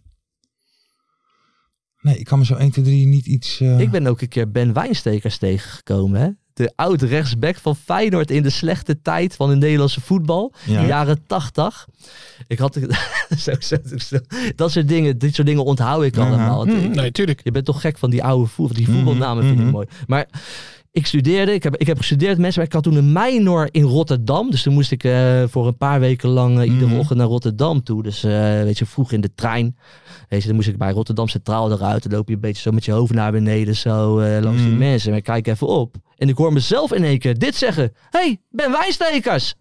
C: Nee, ik kan me zo 1, 2, 3 niet iets... eh,
E: Ik ben ook een keer Ben Wijnstekers tegengekomen. Hè? De oud rechtsback van Feyenoord in de slechte tijd van het Nederlandse voetbal.
C: Ja.
E: De jaren tachtig. Ik had... zo, zo, zo. Dat soort dingen, dit soort dingen onthoud ik
C: Ja.
E: allemaal. Want
D: Hm,
E: ik-
D: nee, tuurlijk.
E: Je bent toch gek van die oude voetbal. Die voetbalnamen vind
C: mhm.
E: ik mooi. Maar ik studeerde, ik heb, ik heb gestudeerd mensen, maar ik had toen een minor in Rotterdam. Dus toen moest ik eh, voor een paar weken lang eh, iedere
C: Mhm.
E: ochtend naar Rotterdam toe. Dus eh, weet je, vroeg in de trein. Weet je, dan moest ik bij Rotterdam Centraal eruit. Dan loop je een beetje zo met je hoofd naar beneden, zo eh, langs die
C: Mhm.
E: mensen. Maar ik kijk even op. En ik hoor mezelf in één keer dit zeggen. hey, Ben Wijnstekers!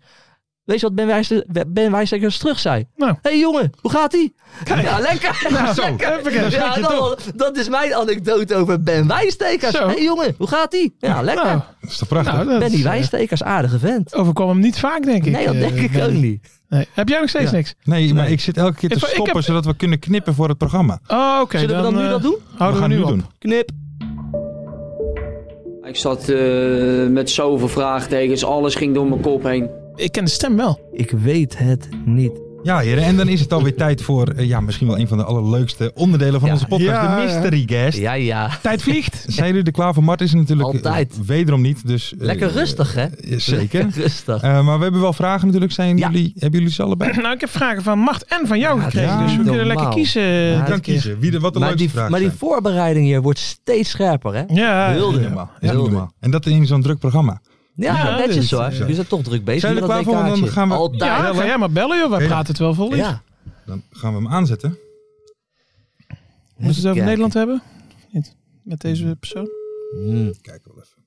E: Weet je wat Ben, Wijnste- ben Wijnstekers terug zei?
D: Nou.
E: hey, jongen, hoe gaat ie?
D: Kijk.
E: Ja, lekker!
D: Nou, zo.
E: Lekker.
D: Even kijken, schrik
E: Ja,
D: je
E: dat,
D: toch.
E: was- dat is mijn anekdote over Ben Wijnstekers.
D: Zo.
E: Hé hey, jongen, hoe gaat ie? Ja, lekker.
D: Nou,
C: Dat is toch prachtig?
D: nou, dat
E: Benny
D: is, eh,
E: Wijnstekers, aardige vent.
D: overkwam hem niet vaak, denk ik.
E: Nee, dat
D: eh,
E: denk ik
D: Benny.
E: ook niet.
D: Nee. Heb jij nog steeds
E: Ja.
D: niks?
C: nee, maar ik zit elke keer te
D: Ik- ik
C: stoppen
D: heb-
C: zodat we kunnen knippen voor het programma.
D: Oh, oké.
E: Zullen we dan nu
D: eh,
E: dat doen?
C: we
D: Houden
C: gaan
D: we,
C: nu
D: nu op.
C: doen.
E: Knip.
F: Ik zat eh, met zoveel vraagtekens, alles ging door mijn kop heen.
D: Ik ken de stem wel.
E: Ik weet het niet.
C: Ja, heren, en dan is het alweer tijd voor eh, ja, misschien wel een van de allerleukste onderdelen van
E: Ja.
C: onze podcast.
D: Ja,
C: de mystery guest.
E: Ja, ja.
D: Tijd vliegt.
C: Zijn jullie er klaar voor? Mart is er natuurlijk eh,
E: Altijd.
C: wederom niet. Dus, eh,
E: Lekker
C: eh,
E: rustig, hè?
C: eh, zeker.
E: Lekker rustig.
C: Eh, maar we hebben wel vragen natuurlijk. Zijn
E: Ja.
C: jullie, hebben jullie ze allebei?
D: nou, ik heb vragen van Macht en van jou
E: Ja,
D: gekregen.
C: dat is
D: dus we
C: niet
D: kunnen lekker
E: normaal.
D: kiezen.
E: Ja,
C: Je
D: dit
C: kan
D: keer.
C: kiezen. Wie de, wat de
E: eh, Maar
C: leukste
E: die,
C: vraag
E: maar die
C: zijn.
E: voorbereiding hier wordt steeds scherper, hè?
D: Ja,
E: Heel
C: Is niet
E: de-
C: normaal. Is niet
E: Heel de-
C: normaal. En dat in zo'n druk programma.
E: Ja,
D: Ja, dit is,
E: netjes hoor.
D: eh,
E: Jullie zijn toch druk bezig
C: Zijn
E: met
C: jullie
E: dat
C: klaar voor? Want dan
E: WK'tje.
C: gaan we-
E: Altijd.
D: ja, ga jij maar bellen, joh. Wij
C: Ja.
D: praten het wel vol. Ja.
E: Ja.
C: Dan gaan we hem aanzetten.
D: Moeten we het over
E: Kijken.
D: Nederland hebben? Niet. Met deze persoon?
E: Hmm.
C: Kijk wel even.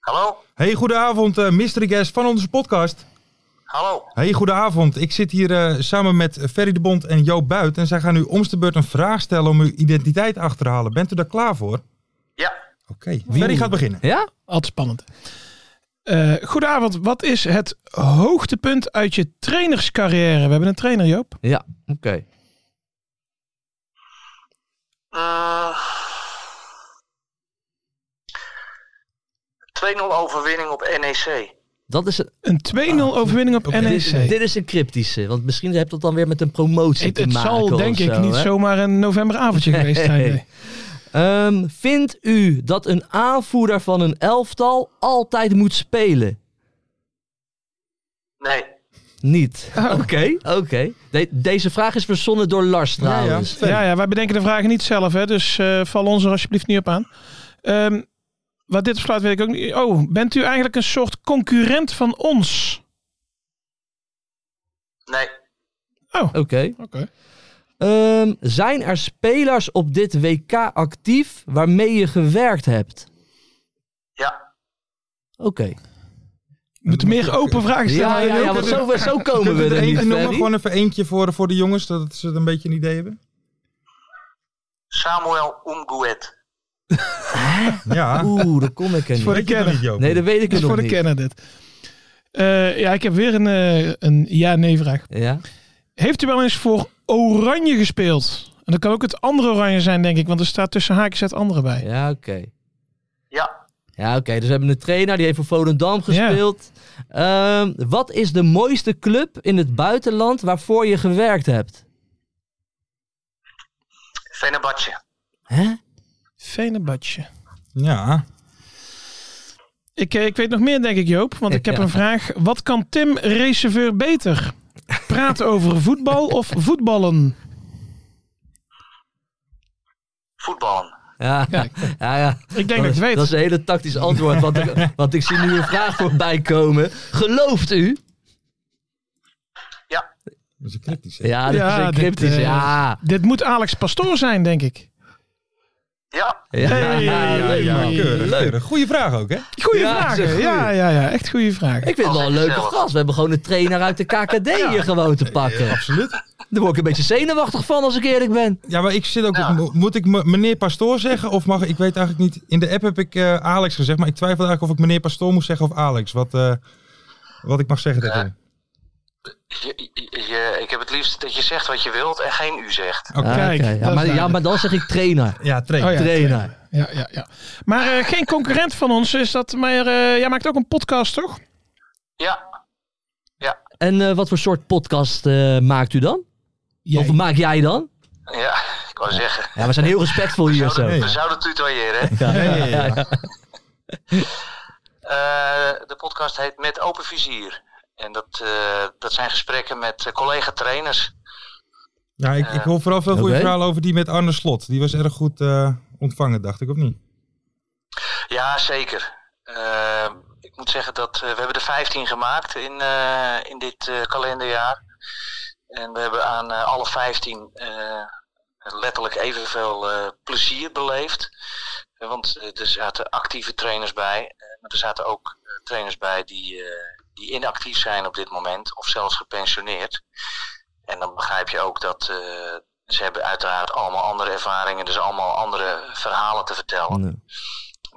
G: Hallo?
C: Hey, goedenavond, eh mystery guest van onze podcast.
G: Hallo?
C: Hey, goedenavond. Ik zit hier eh, samen met Ferry de Bond en Joop Buit. En zij gaan u omste beurt een vraag stellen om uw identiteit achter te halen. Bent u daar klaar voor? Oké.
G: Ja.
C: Ferry gaat beginnen.
E: Ja?
D: Altijd spannend. Eh, goedenavond. Wat is het hoogtepunt uit je trainerscarrière? We hebben een trainer, Joop.
E: Ja, oké.
G: Eh, 2-0 overwinning op E NEC.
E: Dat is het.
D: Een 2-0 overwinning op
C: Oké.
D: NEC.
E: Ah, Dit, dit is een cryptische, want misschien heeft dat dan weer met een promotie
D: E het
E: te
D: het
E: maken.
D: zal
E: of
D: denk ik
E: zo,
D: niet
E: hè?
D: zomaar een novemberavondje geweest zijn. nee.
E: Ehm, vindt u dat een aanvoerder van een elftal altijd moet spelen?
G: Nee.
E: Niet. Oké,
D: Oh.
E: oké. De- deze vraag is verzonnen door Lars trouwens.
C: Ferry.
D: Ja, ja, wij bedenken de vragen niet zelf, hè, dus eh, val ons er alsjeblieft niet op aan. Ehm, wat dit besluit weet ik ook niet. Oh, bent u eigenlijk een soort concurrent van ons?
G: Nee.
E: Oké.
D: Oké.
E: Ehm, zijn er spelers op dit WK actief waarmee je gewerkt hebt?
G: Ja.
E: Oké.
D: Je moet meer open vragen stellen.
E: Ja,
D: dan
E: ja,
D: je
E: ja,
D: ook-
E: want zo, zo komen
C: Kunnen
E: we
C: we er
E: er niet,
C: eentje noemen?
E: Ferry.
C: Gewoon even eentje voor, voor de jongens, zodat ze het een beetje een idee hebben.
G: Samuel Umguet.
C: Ja,
E: Oeh, daar kom ik er
D: Voor de
C: weet je het nog
E: niet.
D: kenner.
C: niet, Joop?
E: Nee, dat weet ik
D: Dit is
E: er
D: voor
E: nog
D: de
E: niet.
D: kenner dit. Eh, ja, ik heb weer een, eh, een ja-nee vraag.
E: Ja?
D: Heeft u wel eens voor Oranje gespeeld? En dat kan ook het andere Oranje zijn, denk ik, want er staat tussen haakjes het andere bij.
E: Ja, oké.
G: Ja.
E: Ja, oké. Dus we hebben een trainer, die heeft voor Volendam gespeeld. Ehm, wat is de mooiste club in het buitenland waarvoor je gewerkt hebt?
G: Fenerbahce.
E: Hè?
D: Venebadje.
C: Ja,
D: Ik, eh, ik weet nog meer, denk ik, Joop. Want ik heb
E: Ja.
D: een vraag. Wat kan Tim Receveur beter? Praten over voetbal of voetballen?
G: Voetballen.
E: Ja, ja, ja.
D: Ik denk dat ik het
E: is-
D: weet.
E: Dat is een hele tactisch antwoord, want ik, want ik zie nu een vraag voorbij komen. Gelooft u?
G: Ja.
C: dat is een kritisch. hè?
E: Ja, dat
D: Ja,
E: is
D: dit,
E: een cryptisch.
D: eh,
E: ja.
D: Dit moet Alex Pastoor zijn, denk ik.
G: Ja.
E: Ja,
D: Hey, ja,
E: leuk,
C: Ja,
E: man.
C: keurig,
E: Leuk.
C: keurig. Goeie vraag ook, hè?
D: Goeie
E: Ja,
D: vraag.
E: zeg, goeie.
D: Ja, ja, ja. Echt goede vraag.
E: Ik vind het wel een leuke gast. We hebben gewoon een trainer uit de KKD hier gewoon te pakken.
C: Absoluut.
E: Daar word ik een beetje zenuwachtig van als ik eerlijk ben.
C: Ja, maar ik zit ook...
G: Ja.
C: mo- Moet ik me- meneer Pastoor zeggen of mag... Ik weet eigenlijk niet... In de app heb ik eh, Alex gezegd, maar ik twijfel eigenlijk of ik meneer Pastoor moest zeggen of Alex. Wat, eh, wat ik mag zeggen
G: Ja.
C: tegen
G: Je, je- je- ik heb het liefst dat je zegt wat je wilt en geen u zegt.
C: Oké.
E: Ah,
D: Kijk,
E: oké. ja,
D: dat is
E: maar, ja,
D: duidelijk.
E: maar dan zeg ik trainer.
C: Ja, train.
D: Oh ja.
E: Trainer.
D: Ja, ja, ja. Maar eh, geen concurrent van ons is dat. Maar eh, jij maakt ook een podcast, toch?
G: Ja.
E: En eh, wat voor soort podcast eh, maakt u dan?
D: Jij.
E: Of maak jij dan?
G: Ja. ik wou zeggen.
E: Ja, we zijn heel respectvol hier zo.
C: Nee.
G: We zouden tutoyeren. hè?
E: Ja, ja, ja.
G: Eh, de podcast heet Met Open Vizier. En dat, eh, dat zijn gesprekken met eh, collega-trainers.
C: Ja, ik, ik hoor vooral veel goede
E: Oké.
C: verhalen over die met Arne Slot. Die was erg goed eh, ontvangen, dacht ik, of niet?
G: Ja, zeker. Eh, ik moet zeggen dat eh, we hebben er 15 gemaakt in, eh, in dit eh, kalenderjaar. En we hebben aan eh, alle 15 eh, letterlijk evenveel eh, plezier beleefd. Eh, Want eh, er zaten actieve trainers bij. eh, maar er zaten ook eh, trainers bij die, eh, die inactief zijn op dit moment. Of zelfs gepensioneerd. En dan begrijp je ook dat eh, ze hebben uiteraard allemaal andere ervaringen. Dus allemaal andere verhalen te vertellen.
E: Nee.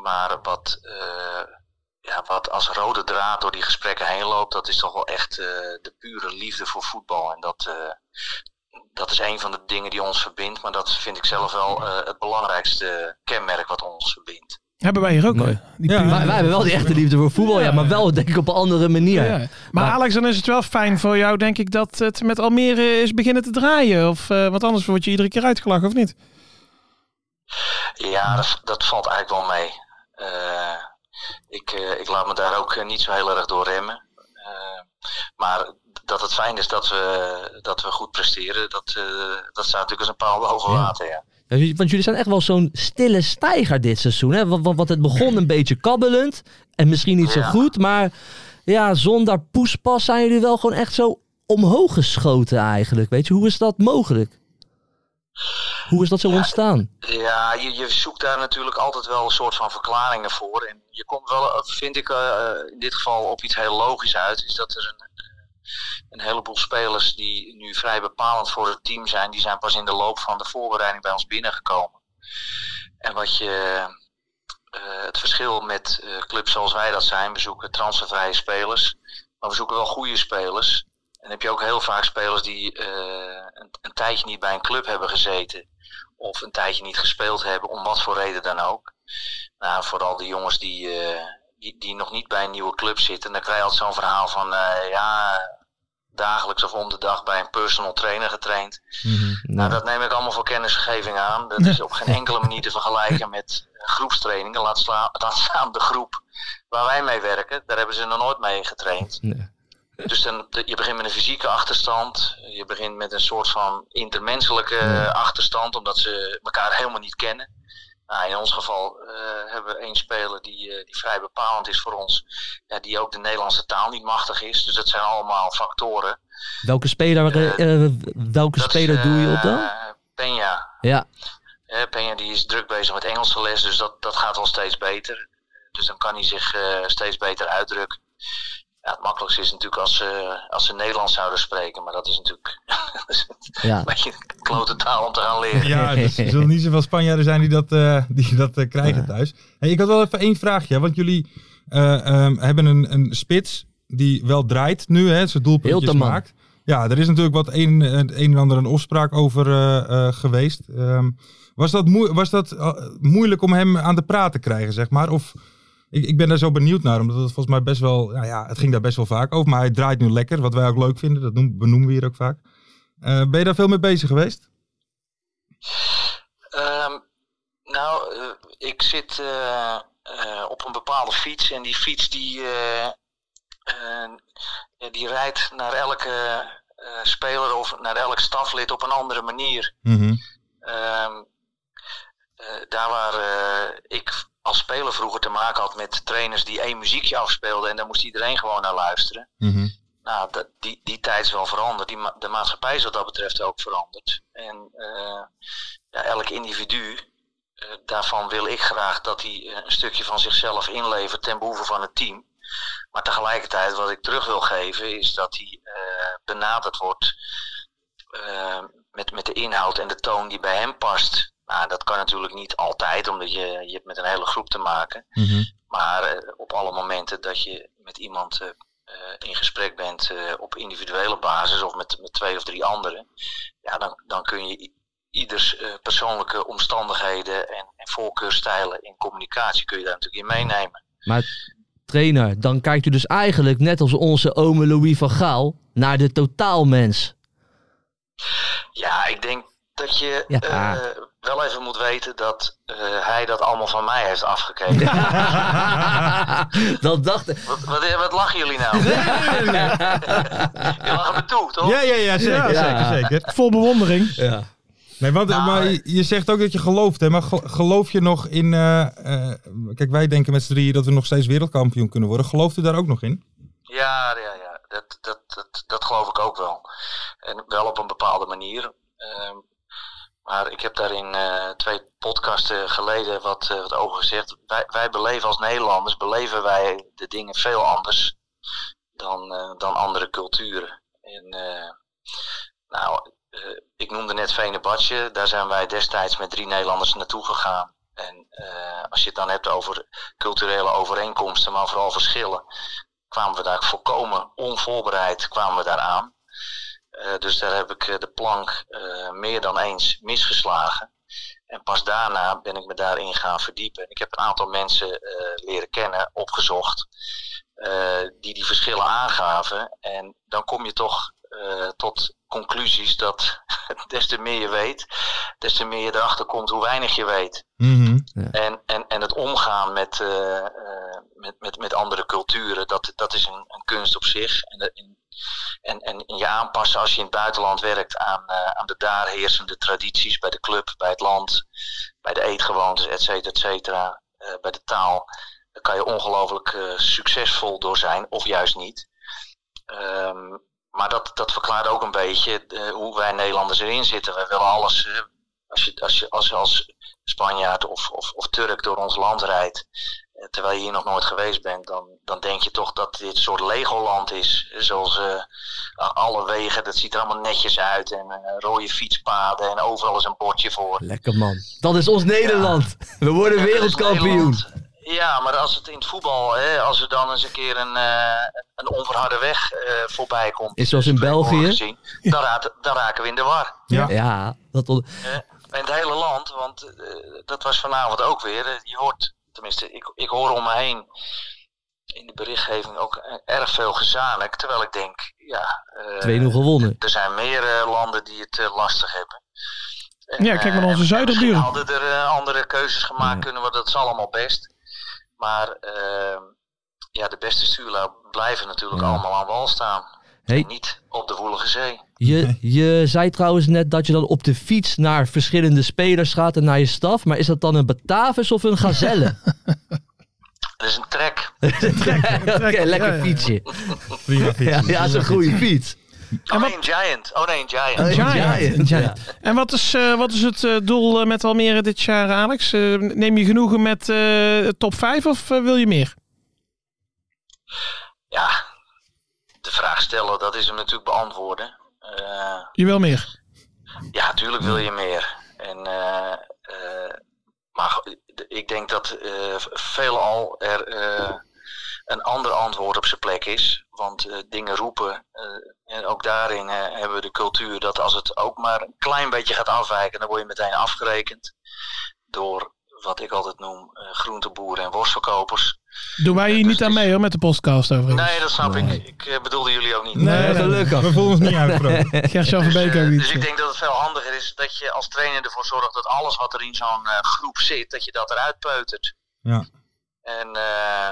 G: Maar wat, eh, ja, wat als rode draad door die gesprekken heen loopt, dat is toch wel echt eh, de pure liefde voor voetbal. En dat, eh, dat is een van de dingen die ons verbindt. Maar dat vind ik zelf wel eh, het belangrijkste kenmerk wat ons verbindt.
D: Hebben wij hier ook.
E: Mooi.
D: hè? Die
C: Ja.
D: pure-
E: Wij, wij hebben wel die echte liefde voor voetbal, ja, maar wel denk ik op een andere manier.
D: Ja. Maar
E: Maar-
D: Alex, dan is het wel fijn voor jou, denk ik, dat het met Almere is beginnen te draaien. Of eh want anders word je iedere keer uitgelachen, of niet?
G: Ja, dat, dat valt eigenlijk wel mee. Eh, ik, eh, ik laat me daar ook eh, niet zo heel erg door remmen. Eh, maar dat het fijn is dat we, dat we goed presteren, dat, eh, dat staat natuurlijk als een paal boven
E: Ja.
G: water. Ja.
E: Ja, jullie- Want jullie zijn echt wel zo'n stille stijger dit seizoen. Hè? Want, want- want het begon een beetje kabbelend. En misschien niet zo
G: Ja.
E: goed. Maar ja, zonder poespas zijn jullie wel gewoon echt zo omhoog geschoten eigenlijk. Weet je, hoe is dat mogelijk? Hoe is dat zo ontstaan?
G: Ja, je, je zoekt daar natuurlijk altijd wel een soort van verklaringen voor. En je komt wel, eh, vind ik, eh, eh, in dit geval op iets heel logisch uit. Is dat er een, eh, een heleboel spelers die nu vrij bepalend voor het team zijn, die zijn pas in de loop van de voorbereiding bij ons binnengekomen. En wat je. eh, het verschil met eh, clubs zoals wij dat zijn, we zoeken transfervrije spelers. Maar we zoeken wel goede spelers. En dan heb je ook heel vaak spelers die eh, een, een tijdje niet bij een club hebben gezeten of een tijdje niet gespeeld hebben, om wat voor reden dan ook. Nou, vooral de jongens die, eh, die, die nog niet bij een nieuwe club zitten, dan krijg je altijd zo'n verhaal van eh, ja, dagelijks of om de dag bij een personal trainer getraind.
E: Mhm.
G: Nou, dat neem ik allemaal voor kennisgeving aan. Dat is op geen enkele manier te vergelijken met eh, groepstrainingen. Laat, sla- laat staan de groep waar wij mee werken. Daar hebben ze nog nooit mee getraind.
E: Nee.
G: Dus dan, de- je begint met een fysieke achterstand. Je begint met een soort van intermenselijke eh, achterstand, omdat ze elkaar helemaal niet kennen. Nou, in ons geval eh, hebben we één speler die, eh, die vrij bepalend is voor ons. Ja, die ook de Nederlandse taal niet machtig is. Dus dat zijn allemaal factoren.
E: Welke speler, eh, eh, welke
G: Dat is,
E: speler doe je op dan?
G: eh, Peña.
E: Ja,
G: Eh, Peña die is druk bezig met Engelse les, dus dat, dat gaat wel steeds beter. Dus dan kan hij zich eh, steeds beter uitdrukken. Ja, het makkelijkste is natuurlijk als ze, als ze Nederlands zouden spreken, maar dat is natuurlijk
E: ja.
G: een beetje een klote taal om te gaan leren.
C: Ja, dus er zullen niet zoveel Spanjaarden zijn die dat, eh, die dat eh,
E: Ah.
C: krijgen thuis. Hey, ik had wel even één vraagje. Want jullie eh, ehm, hebben een, een spits die wel draait nu, hè, zijn doelpuntjes
E: Hilterman.
C: maakt. Ja, er is natuurlijk wat een, het een en ander een opspraak over eh, eh, geweest. Ehm, was dat, moe- was dat eh, moeilijk om hem aan de praat te krijgen, zeg maar? Of ik, ik ben daar zo benieuwd naar, omdat het volgens mij best wel... Nou ja, het ging daar best wel vaak over, maar hij draait nu lekker. Wat wij ook leuk vinden, dat noem- benoemen we hier ook vaak. Eh, ben je daar veel mee bezig geweest?
G: Ehm, nou, eh, ik zit eh, eh, op een bepaalde fiets en die fiets die, eh, eh, ja, die rijdt naar elke eh, speler of naar elk staflid op een andere manier.
C: Mhm.
G: Ehm, eh, daar waar eh, ik als speler vroeger te maken had met trainers die één muziekje afspeelden en daar moest iedereen gewoon naar luisteren.
C: Mhm.
G: Nou, dat- die, die tijd is wel veranderd. Die, ma- de maatschappij is wat dat betreft ook veranderd. En eh, ja, elk individu, eh, daarvan wil ik graag dat hij eh, een stukje van zichzelf inlevert ten behoeve van het team. Maar tegelijkertijd wat ik terug wil geven is dat hij eh, benaderd wordt eh, met, met de inhoud en de toon die bij hem past. Nou, dat kan natuurlijk niet altijd, omdat je, je hebt met een hele groep te maken.
C: Mhm.
G: Maar eh, op alle momenten dat je met iemand eh, eh, in gesprek bent eh, op individuele basis of met, met twee of drie anderen, ja, dan, dan kun je i- ieders eh, persoonlijke omstandigheden en, en voorkeurstijlen in communicatie kun je daar natuurlijk in meenemen.
E: Maar trainer, dan kijkt u dus eigenlijk net als onze ome Louis van Gaal naar de totaalmens.
G: Ja, ik denk dat je
E: Ja.
G: eh, wel even moet weten dat eh, hij dat allemaal van mij heeft afgekeken.
E: dat dacht ik.
G: Wat, wat, wat lachen jullie nou? Je lacht me toe, toch?
C: Ja, ja, ja, zeker,
E: Ja.
C: zeker, zeker.
D: Vol bewondering.
E: Ja.
C: Nee, want,
G: Nou,
C: maar
G: eh.
C: je- je zegt ook dat je gelooft, hè? Maar ge- geloof je nog in... eh, eh, kijk, wij denken met z'n drieën dat we nog steeds wereldkampioen kunnen worden. Gelooft u daar ook nog in?
G: Ja, ja, ja. Dat, dat, dat, dat geloof ik ook wel. En wel op een bepaalde manier. Ehm, maar ik heb daar in eh, twee podcasten geleden wat, eh, wat over gezegd. Wij, wij beleven als Nederlanders, beleven wij de dingen veel anders dan, eh, dan andere culturen. En eh, nou, eh, ik noemde net Venebadje. Daar zijn wij destijds met drie Nederlanders naartoe gegaan. En eh, als je het dan hebt over culturele overeenkomsten, maar vooral verschillen kwamen we daar volkomen onvoorbereid kwamen we daar aan. Eh, dus daar heb ik eh, de plank eh, meer dan eens misgeslagen. En pas daarna ben ik me daarin gaan verdiepen. Ik heb een aantal mensen eh, leren kennen, opgezocht, eh, die die verschillen aangaven. En dan kom je toch eh, tot conclusies dat des te meer je weet, des te meer je erachter komt hoe weinig je weet.
C: Mhm.
G: En, en, en het omgaan met, eh, eh, met, met, met andere culturen, dat, dat is een, een kunst op zich. En, dat- en, en, en je aanpassen als je in het buitenland werkt aan, eh, aan de daar heersende tradities bij de club, bij het land, bij de eetgewoontes, et cetera, et cetera, eh, bij de taal. Daar kan je ongelooflijk eh, succesvol door zijn, of juist niet. Ehm, maar dat, dat verklaart ook een beetje eh, hoe wij Nederlanders erin zitten. Wij willen alles. eh, als, je, als, je, als je als Spanjaard of, of, of Turk door ons land rijdt, eh, terwijl je hier nog nooit geweest bent, dan, dan denk je toch dat dit een soort Legoland is. Eh, Zoals eh, a- alle wegen, dat ziet er allemaal netjes uit en eh, rode fietspaden en overal is een bordje voor.
E: Lekker man. Dat is ons Nederland. We worden wereldkampioen.
G: Ja, maar als het in het voetbal, hè, als er dan eens een keer een, eh, een onverharde weg eh, voorbij komt.
E: Is zoals in
G: zoals we hebben
E: België.
G: gezien, dan, raad- dan raken we in de war.
C: Ja.
E: Ja, dat on-
G: En het hele land, want eh, dat was vanavond ook weer. eh, je hoort, tenminste, ik, ik hoor om me heen in de berichtgeving ook eh, erg veel gezanik. Terwijl ik denk, ja, eh,
E: 2-0 gewonnen.
G: er zijn meer eh, landen die het eh, lastig hebben. En,
D: Ja, kijk maar naar
G: eh,
D: onze zuiderburen.
G: misschien hadden er eh, andere keuzes gemaakt kunnen worden, dat is allemaal best. Maar eh, ja, de beste stuurlui blijven natuurlijk
E: Ja.
G: allemaal aan wal staan.
E: Hey.
G: Niet op de woelige zee.
E: Je, je zei trouwens net dat je dan op de fiets naar verschillende spelers gaat en naar je staf. Maar is dat dan een Batavus of een Gazelle?
G: Dat is een trek.
E: Oké,
D: Ja,
E: lekker
D: ja.
E: fietsje.
C: Prima
E: Ja, ja, is een goede fiets.
G: Oh nee, een giant. Oh nee, een giant.
E: Een
D: Giant.
E: Giant,
D: Giant. En wat is, eh, wat is het eh, doel eh, met Almere dit jaar, Alex? Eh, neem je genoegen met eh, top 5 of eh, wil je meer?
G: Ja, de vraag stellen, dat is hem natuurlijk beantwoorden. Eh,
D: Je wil meer.
G: ja, natuurlijk wil je meer. En, eh, eh, maar go- ik denk dat eh, veelal er eh, een ander antwoord op zijn plek is. Want eh, dingen roepen, eh, en ook daarin eh, hebben we de cultuur dat als het ook maar een klein beetje gaat afwijken, dan word je meteen afgerekend door wat ik altijd noem eh, groenteboeren en worstverkopers.
D: Doen wij hier niet aan mee hoor, met de podcast overigens.
G: Nee, dat snap ik. Ik eh, bedoelde jullie ook niet.
D: Nee,
E: gelukkig.
C: We voelen ons niet uitgesproken.
D: Gert-Jan van Beek
G: Dus, eh,
D: ook
G: Dus ik
D: niet.
G: denk dat het veel handiger is dat je als trainer ervoor zorgt dat alles wat er in zo'n eh, groep zit, dat je dat eruit peutert.
C: Ja.
G: En, eh,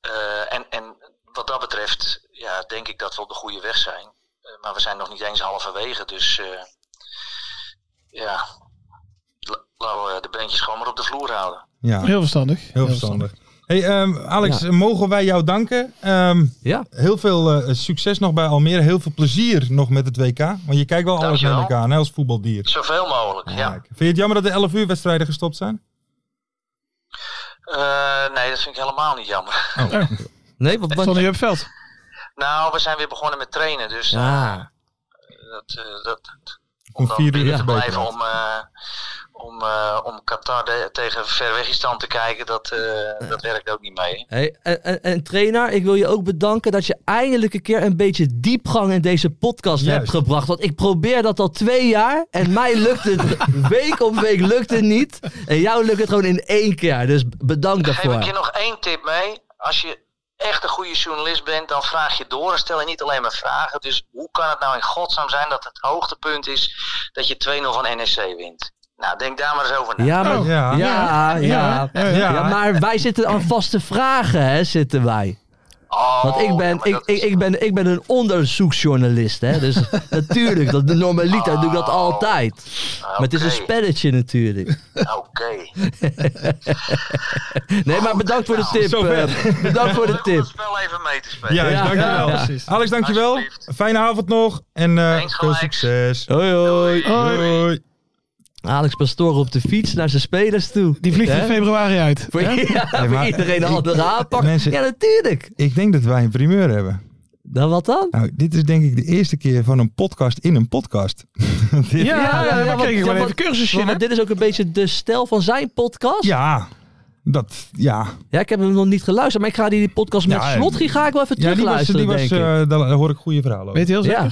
G: eh, en, en wat dat betreft, ja, denk ik dat we op de goede weg zijn. Eh, maar we zijn nog niet eens halverwege, dus eh, ja, La- laten we de beentjes gewoon maar op de vloer houden.
C: Ja,
D: Heel verstandig.
C: heel verstandig. Hey, ehm, Alex, mogen wij jou danken? Ehm,
E: Ja,
C: heel veel eh, succes nog bij Almere. Heel veel plezier nog met het WK. Want je kijkt wel alles met
G: Dankjewel.
C: elkaar aan, hè, als voetbaldier.
G: Zoveel mogelijk, ja.
C: Kijk. Vind je het jammer dat de 11 uur wedstrijden gestopt zijn?
G: Eh, nee, dat vind ik helemaal niet jammer.
E: nee, wat...
D: Stond je op het veld?
G: Nou, we zijn weer begonnen met trainen, dus
E: Ja,
G: dat, eh, dat,
C: Om
G: dan
C: 4 uur
G: binnen
C: is
G: te
C: het
G: blijven
C: beter.
G: om, eh, om, eh, om Qatar de- tegen Verwegistan te kijken, dat, eh, dat werkt ook niet mee.
E: Hey, en, en, en trainer, ik wil je ook bedanken dat je eindelijk een keer een beetje diepgang in deze podcast
C: Juist.
E: hebt gebracht. Want ik probeer dat al twee jaar en mij lukt het week op week lukt het niet. En jou lukt het gewoon in één keer. Dus bedankt
G: Geef ik je
E: daarvoor.
G: nog één tip mee. Als je echt een goede journalist bent, dan vraag je door en stel je niet alleen maar vragen. Dus hoe kan het nou in godsnaam zijn dat het hoogtepunt is dat je 2-0 van NEC wint? Nou, denk daar maar eens over na.
E: Ja, maar,
C: Oh,
E: ja.
C: ja.
E: Ja,
C: ja,
E: ja,
C: ja.
E: maar wij zitten aan vaste vragen, hè, zitten wij.
G: Oh,
E: Want ik ben,
G: maar
E: ik,
G: dat
E: ik,
G: is-
E: ik ben, ik ben een onderzoeksjournalist, hè. Dus natuurlijk, dat, de normaliter doe ik dat altijd. Maar het is een
G: Oké.
E: spelletje natuurlijk.
G: Oké.
E: Nee, maar bedankt voor de
G: nou,
E: tip.
C: zover.
E: eh, bedankt voor de
G: Leuk om
E: tip.
G: dat spel even mee te spelen.
C: Juist,
E: Ja,
C: dankjewel.
E: ja,
D: precies.
C: Alex, dankjewel.
G: Alsjeblieft.
C: Fijne avond nog. En eh,
G: Eens
C: veel
G: gelijk.
C: succes.
E: Hoi, hoi.
C: Hoi.
E: Eh, Alex Pastoor op de fiets naar zijn spelers toe.
D: Die vliegt in
E: Hè?
D: februari uit.
E: Voor,
D: hè?
E: ja, voor
C: maar-
E: iedereen een
C: Ik-
E: andere aanpak.
C: Mensen-
E: Ja, natuurlijk.
C: Ik denk dat wij een primeur hebben.
E: Dan wat dan?
C: Nou, dit is denk ik de eerste keer van een podcast in een podcast. Dit-
D: Ja, ja, ja, daar
E: want-
D: kreeg ik wel
E: ja, want-
D: even cursusje in.
E: want
D: hè?
E: dit is ook een beetje de stijl van zijn podcast.
C: ja, dat, ja.
E: Ja, ik heb hem nog niet geluisterd, maar ik ga die die podcast met
C: Ja, en-
E: slot ga ik wel even
C: Ja, die was,
E: terugluisteren,
C: die was
E: denk ik.
C: eh, daar hoor ik goede verhalen over.
D: Weet je heel zeker?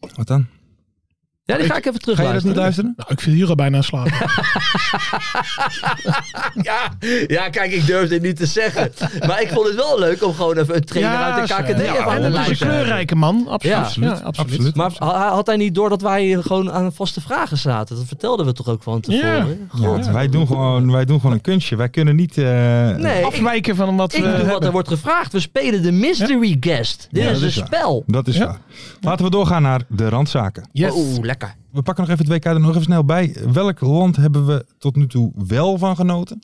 E: ja.
C: Wat dan?
E: ja, die ga ik even
C: Ga je dat
E: terugluisteren.
C: niet luisteren?
D: Nou, ik viel hier al bijna aan slapen.
E: Ja, ja, kijk, ik durf dit niet te zeggen. Maar ik vond het wel leuk om gewoon even een trainer
D: Ja,
E: uit de
D: zeker.
E: KKD even
D: Ja,
E: aan
D: en
E: te
D: dat is een
E: luisteren.
D: kleurrijke man. Absoluut.
E: Ja,
D: Ja,
E: absoluut.
D: absoluut.
C: Absoluut.
E: Maar ha- had hij niet door dat wij hier gewoon aan vaste vragen zaten? Dat vertelden we toch ook van tevoren?
C: Ja,
E: God.
C: Wij, doen gewoon, wij doen gewoon een kunstje. Wij kunnen niet... eh,
E: Nee, ik,
D: Afwijken van wat
E: ik
D: we
E: doe wat eh, er
D: hebben.
E: wordt gevraagd. We spelen de mystery guest. Dit
C: Ja,
E: is
C: dat
E: een
C: is waar.
E: spel.
C: Dat is
D: Ja.
C: waar. Laten we doorgaan naar de randzaken.
D: Yes.
E: Oeh, lekker.
C: We pakken nog even het WK er nog even snel bij. Welk land hebben we tot nu toe wel van genoten?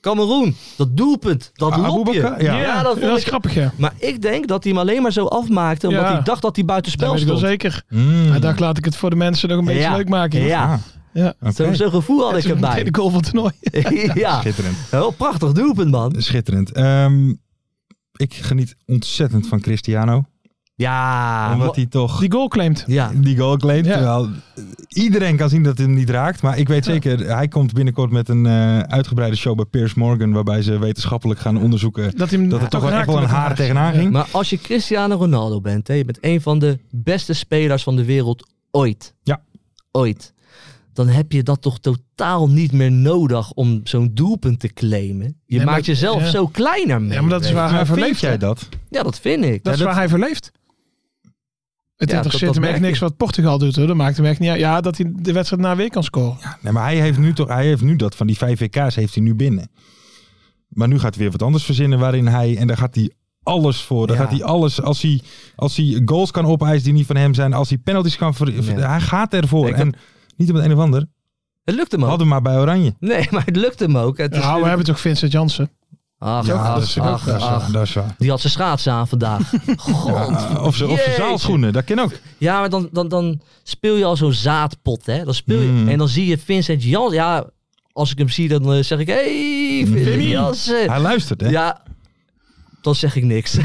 E: Cameroen, dat doelpunt, dat
C: Ah,
E: lopje.
C: Aboubakar? Ja.
E: Ja, dat
D: dat,
E: vond
D: is
E: ik-
D: grappig, ja.
E: Maar ik denk dat hij hem alleen maar zo afmaakte omdat
D: Ja.
E: hij dacht dat hij
D: Dat
E: buitenspel
D: weet ik wel
E: stond.
D: zeker.
C: Mm.
D: Hij dacht, laat ik het voor de mensen nog een beetje
E: Ja.
D: leuk maken.
E: Ja,
C: Ah,
D: Ah, ja.
C: oké.
E: Zo- zo'n gevoel had
D: Het
E: ik
D: is meteen
E: erbij.
D: de goal van het toernooi.
E: ja,
C: Schitterend.
E: heel prachtig doelpunt man.
C: Schitterend. Ehm, ik geniet ontzettend van Cristiano.
E: Ja,
C: omdat hij toch
D: Die goal claimt.
E: ja.
C: die goal claimt.
D: Ja.
C: Terwijl iedereen kan zien dat hij hem niet raakt. Maar ik weet zeker, hij komt binnenkort met een eh, uitgebreide show bij Piers Morgan. Waarbij ze wetenschappelijk gaan onderzoeken
D: Dat hij hem
C: dat er toch wel echt
D: raakte
C: wel een
D: met
C: haar tegenaan ging.
E: Maar als je Cristiano Ronaldo bent, hè, je bent een van de beste spelers van de wereld ooit.
C: Ja.
E: Ooit. Dan heb je dat toch totaal niet meer nodig om zo'n doelpunt te claimen. Je
D: Nee,
E: maakt
D: maar-
E: jezelf
D: ja.
E: zo kleiner mee.
D: Ja, maar dat is waar hij
C: Maar
D: verleeft.
C: vind jij
D: hè?
C: dat?
E: Ja, dat vind ik.
D: Dat is
C: Ja,
D: waar hij verleeft. Het
E: Ja, dat-
D: interesseert
E: dat
D: hem
E: merk
D: echt niks
E: je.
D: wat Portugal doet. Hoor. Dat maakt hem echt niet uit. Ja, dat hij de wedstrijd na weer kan scoren.
C: Nee, maar hij heeft, nu toch, hij heeft nu dat van die 5 WK's heeft hij nu binnen. Maar nu gaat hij weer wat anders verzinnen waarin hij... En daar gaat hij alles voor. Daar
E: Ja.
C: gaat hij alles... Als hij, als hij goals kan opeisen die niet van hem zijn. Als hij penalties kan... Ver, ver-
E: Ja.
C: Hij gaat ervoor.
E: Ik
C: en niet op het een of ander.
E: Het lukt hem ook.
C: Hadden we maar bij Oranje.
E: Nee, maar het lukt hem ook. Het is
D: Ja,
E: nu-
D: we hebben toch Vincent Jansen.
E: Ach,
C: Ja, dat
E: ach,
C: is,
E: ach,
C: dat is,
E: ach.
C: waar, dat is waar.
E: Die had zijn schaatsen aan vandaag. God.
C: Of ze, of ze
E: Jeetje.
C: zaalschoenen, dat kan ook.
E: Ja, maar dan, dan, dan speel je al zo'n zaadpot, hè. Dan speel je,
C: Mm.
E: En dan zie je Vincent Jans. Ja, als ik hem zie, dan eh, zeg ik... hey, Vincent Jansen.
C: Hij luistert, hè?
E: Eh, Ja, dan zeg ik niks.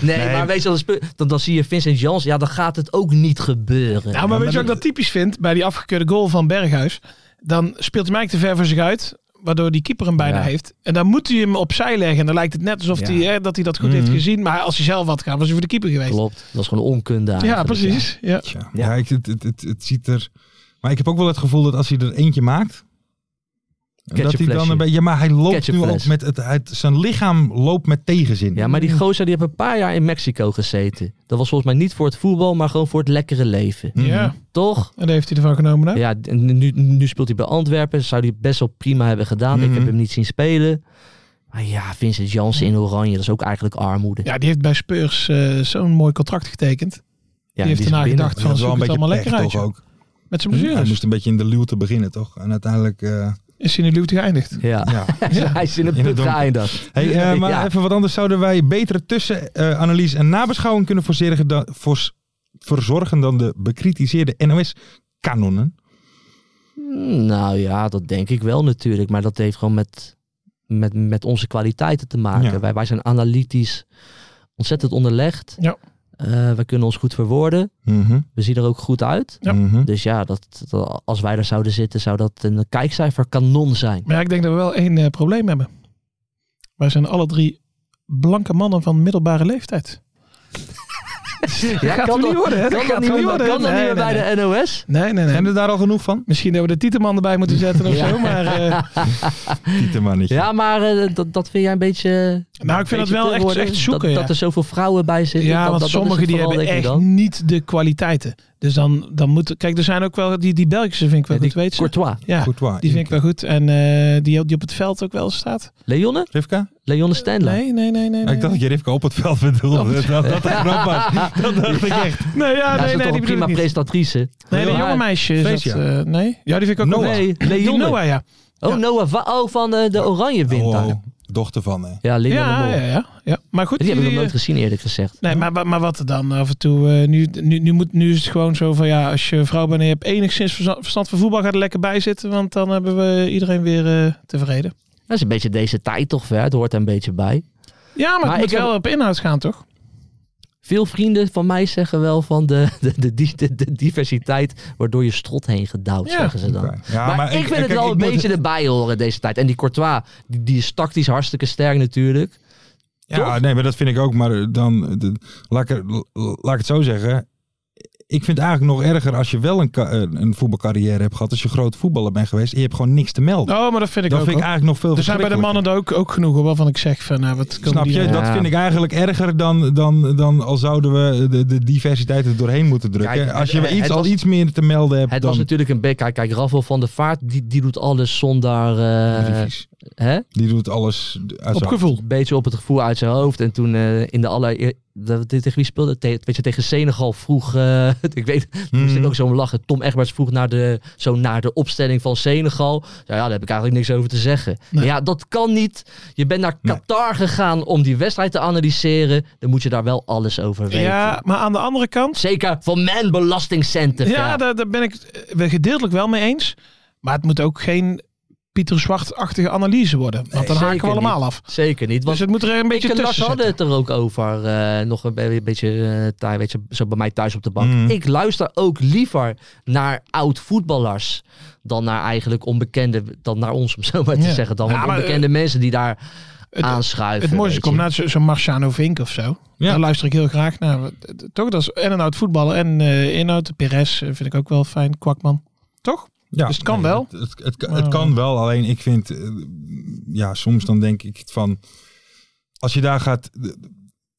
E: nee, maar weet je, dan, speel- dan, dan zie je Vincent Jans. Ja, dan gaat het ook niet gebeuren.
D: Nou, maar weet je wat ik dat typisch vind? Bij die afgekeurde goal van Berghuis. Dan speelt hij mij te ver voor zich uit. Waardoor die keeper hem bijna
E: Ja.
D: heeft. En dan moet hij hem opzij leggen. En dan lijkt het net alsof
E: Ja.
D: hij, hè, dat hij dat goed heeft gezien. Maar als hij zelf had gaan, was hij voor de keeper geweest.
E: Klopt, dat is gewoon onkunde
D: Ja,
E: eigenlijk,
D: precies. Ja.
C: Tja, ja, ik, het, het, het, het ziet er... Maar ik heb ook wel het gevoel dat als hij er eentje maakt... Dat hij dan
E: Ketchupflesje.
C: een beetje... Ja, maar hij loopt nu ook
E: Ketchupfles.
C: met... Het, hij- zijn lichaam loopt met tegenzin.
E: Ja, maar die gozer die heeft een paar jaar in Mexico gezeten. Dat was volgens mij niet voor het voetbal, maar gewoon voor het lekkere leven.
C: Mhm.
D: Ja,
E: Toch?
D: en daar heeft hij ervan genomen. Hè?
E: Ja, en nu, nu speelt hij bij Antwerpen. Zou hij best wel prima hebben gedaan. Ik heb
C: Mhm.
E: hem niet zien spelen. Maar ja, Vincent Jansen in Oranje, dat is ook eigenlijk armoede.
D: Ja, die heeft bij Spurs eh, zo'n mooi contract getekend.
E: Ja,
D: die heeft
E: is
D: daarna
E: binnen.
D: gedacht van, zoek het allemaal lekker uit.
C: toch
D: joh.
C: ook.
D: Met zijn
C: Hij
D: blessures.
C: moest een beetje in de luwte beginnen, toch? En uiteindelijk... eh,
D: Is hij in de luwte geëindigd.
E: Ja.
C: ja.
E: Hij is in een
C: In het
E: put
C: donker.
E: geëindigd.
C: Hey, eh, maar
E: Ja. Mm,
C: even wat anders. Zouden wij betere tussenanalyse en nabeschouwing kunnen forceren dan, fors- verzorgen dan de bekritiseerde NOS-kanonnen?
E: Nou ja, dat denk ik wel natuurlijk. Maar dat heeft gewoon met, met, met onze kwaliteiten te maken.
C: Ja.
E: Wij, wij zijn analytisch ontzettend onderlegd.
D: Ja.
E: Eh, wij kunnen ons goed verwoorden. We zien er ook goed uit.
D: Ja.
C: Mhm.
E: Dus ja, dat, dat- als wij daar zouden zitten, zou dat een kijkcijfer kanon zijn.
D: Maar ja, ik denk dat we wel één eh, probleem hebben. Wij zijn alle drie blanke mannen van middelbare leeftijd.
E: Ja,
D: gaat
E: kan
D: hem
E: dat-
D: niet worden, hè?
E: Kan dat niet worden? Kan dat niet meer bij de NOS?
D: Nee, nee, nee.
C: Zijn er daar al genoeg van?
D: Misschien dat we de titelman erbij moeten zetten of
E: Ja.
D: zo, maar... eh,
C: Tietemannetje.
E: Ja, maar eh, dat, dat vind jij een beetje...
D: Nou, ik vind dat
E: Beetje
D: wel echt,
E: tegenwoordig,
D: echt zoeken.
E: Dat,
D: ja.
E: dat er zoveel vrouwen bij zitten.
D: Ja,
E: dat, dat-
D: want
E: dat is
D: sommigen
E: het
D: die
E: vooral,
D: hebben
E: denk
D: echt
E: ik dan.
D: niet de kwaliteiten. Dus dan, dan moet... Kijk, er zijn ook wel... Die, die Belgische vind ik wel
E: Ja,
D: goed,
E: die
D: weet je.
E: Courtois.
D: Ja,
C: Courtois.
D: die vind ik wel goed. En eh, die, die op het veld ook wel staat.
E: Leonne?
C: Rivka?
E: Leonne Stendler.
D: Nee, nee, nee, nee.
C: Ah, ik dacht dat je Rivka op het veld bedoelde. Dat dat een grap was. Dat dacht ik echt.
D: Nee, ja,
E: Ja,
D: nee,
E: ze is
D: nee,
E: toch
D: die
E: een
D: prima
E: prima
D: niet.
E: presentatrice.
D: Nee, de
E: Heel
D: jonge
E: haar.
D: meisje is dat,
C: Freesia.
D: eh, nee? Ja, die vind ik ook
C: Noah.
D: wel-
E: Nee,
D: Die
E: Leonne.
D: Noah, ja.
E: Oh,
D: Ja.
E: Noah. va- Oh, van eh, de Oranje wint daar.
C: Oh, dochter van. Hè.
E: Ja, Linda de
D: Ja,
E: Mol.
D: ja, ja, ja. Maar goed,
E: Die heb ik nog
D: die, eh,
E: nooit gezien, eerlijk gezegd.
D: Nee, maar, wa- maar wat er dan af en toe. eh, nu, nu, nu, moet, nu is het gewoon zo van ja, als je een vrouw bent en je hebt enigszins verza- verstand van voetbal, ga er lekker bij zitten. Want dan hebben we iedereen weer eh, tevreden.
E: Dat is een beetje deze tijd toch, hè? Het hoort er een beetje bij.
D: Ja, maar,
E: Maar
D: het moet
E: ik heb-
D: wel op inhoud gaan, toch?
E: Veel vrienden van mij zeggen wel van de, de, de, di- de- de diversiteit waardoor je strot heen gedouwd,
D: Ja,
E: zeggen ze dan.
C: Oké. Ja,
E: maar, ik vind het
C: kijk,
E: wel
C: ik
E: een
C: moet-
E: beetje erbij horen deze tijd. En die Courtois, die, die is tactisch hartstikke sterk natuurlijk.
C: Ja, nee, maar dat vind ik ook. Maar dan, eh, de- laat, ik, er- l- laat ik het zo zeggen. Ik vind het eigenlijk nog erger als je wel een, ka- eh, een voetbalcarrière hebt gehad. Als je groot voetballer bent geweest. En je hebt gewoon niks te melden.
D: Oh, maar dat vind ik
C: dat
D: ook.
C: vind ik
D: hoor.
C: eigenlijk nog veel
D: er zijn bij de mannen daar ook, ook genoeg hoor, waarvan ik zeg van nou, wat komen
C: Snap
D: die
C: je?
D: aan?
E: Ja.
C: Dat vind ik eigenlijk erger dan, dan, dan al zouden we de, de diversiteit er doorheen moeten drukken.
E: Kijk,
C: Als je
E: het-
C: iets,
E: het
C: al
E: was-
C: iets meer te melden hebt
E: Het
C: dan...
E: was natuurlijk een bek. Kijk, kijk Rafael van der Vaart, die, die doet alles zonder... eh
C: Precies.
E: hè?
C: Die doet alles uit
D: Op
C: zijn-
D: gevoel.
E: Een beetje op het gevoel uit zijn hoofd. En toen eh, in de aller... Tegen wie speelde het? Te- Weet je, tegen Senegal vroeg... eh, ik weet, toen moest ik
C: Hmm.
E: ook zo om lachen. Tom Egberts vroeg naar de, zo naar de opstelling van Senegal. Ja, ja, daar heb ik eigenlijk niks over te zeggen.
D: Nee.
E: Ja, dat kan niet. Je bent naar
C: Nee.
E: Qatar gegaan om die wedstrijd te analyseren. Dan moet je daar wel alles over weten.
D: Ja, maar aan de andere kant.
E: Zeker voor mijn belastingcenten.
D: Ja, daar, daar ben ik het, eh, gedeeltelijk wel mee eens. Maar het moet ook geen Pieter Zwart-achtige analyse worden. Want dan haken we
E: zeker
D: allemaal af.
E: Zeker niet. Want
D: Dus het moet er een beetje
E: ik en Lars
D: tussen
E: hadden
D: zitten.
E: het er ook over. eh, nog een, be- een beetje eh, daar, weet je, zo bij mij thuis op de bank.
C: Mm.
E: Ik luister ook liever naar oud voetballers. Dan naar eigenlijk onbekende. Dan naar ons, om zo maar te
D: Ja.
E: zeggen. Dan
D: Ja,
E: want
D: maar, eh,
E: onbekende mensen die daar
D: het-
E: aanschuiven.
D: Het mooiste
E: weet
D: komt
E: je.
D: naar zo'n Marciano Vink of zo.
C: Ja.
D: Daar luister ik heel graag naar. Toch, dat is en een oud voetballer en eh, inhoud. Perez eh, vind ik ook wel fijn. Kwakman. Toch?
C: Ja,
D: Dus het kan wel. Oh.
C: Het, het, het,
D: Maar-
C: het kan wel, alleen ik vind, eh, ja, soms dan denk ik van, als je daar gaat, eh,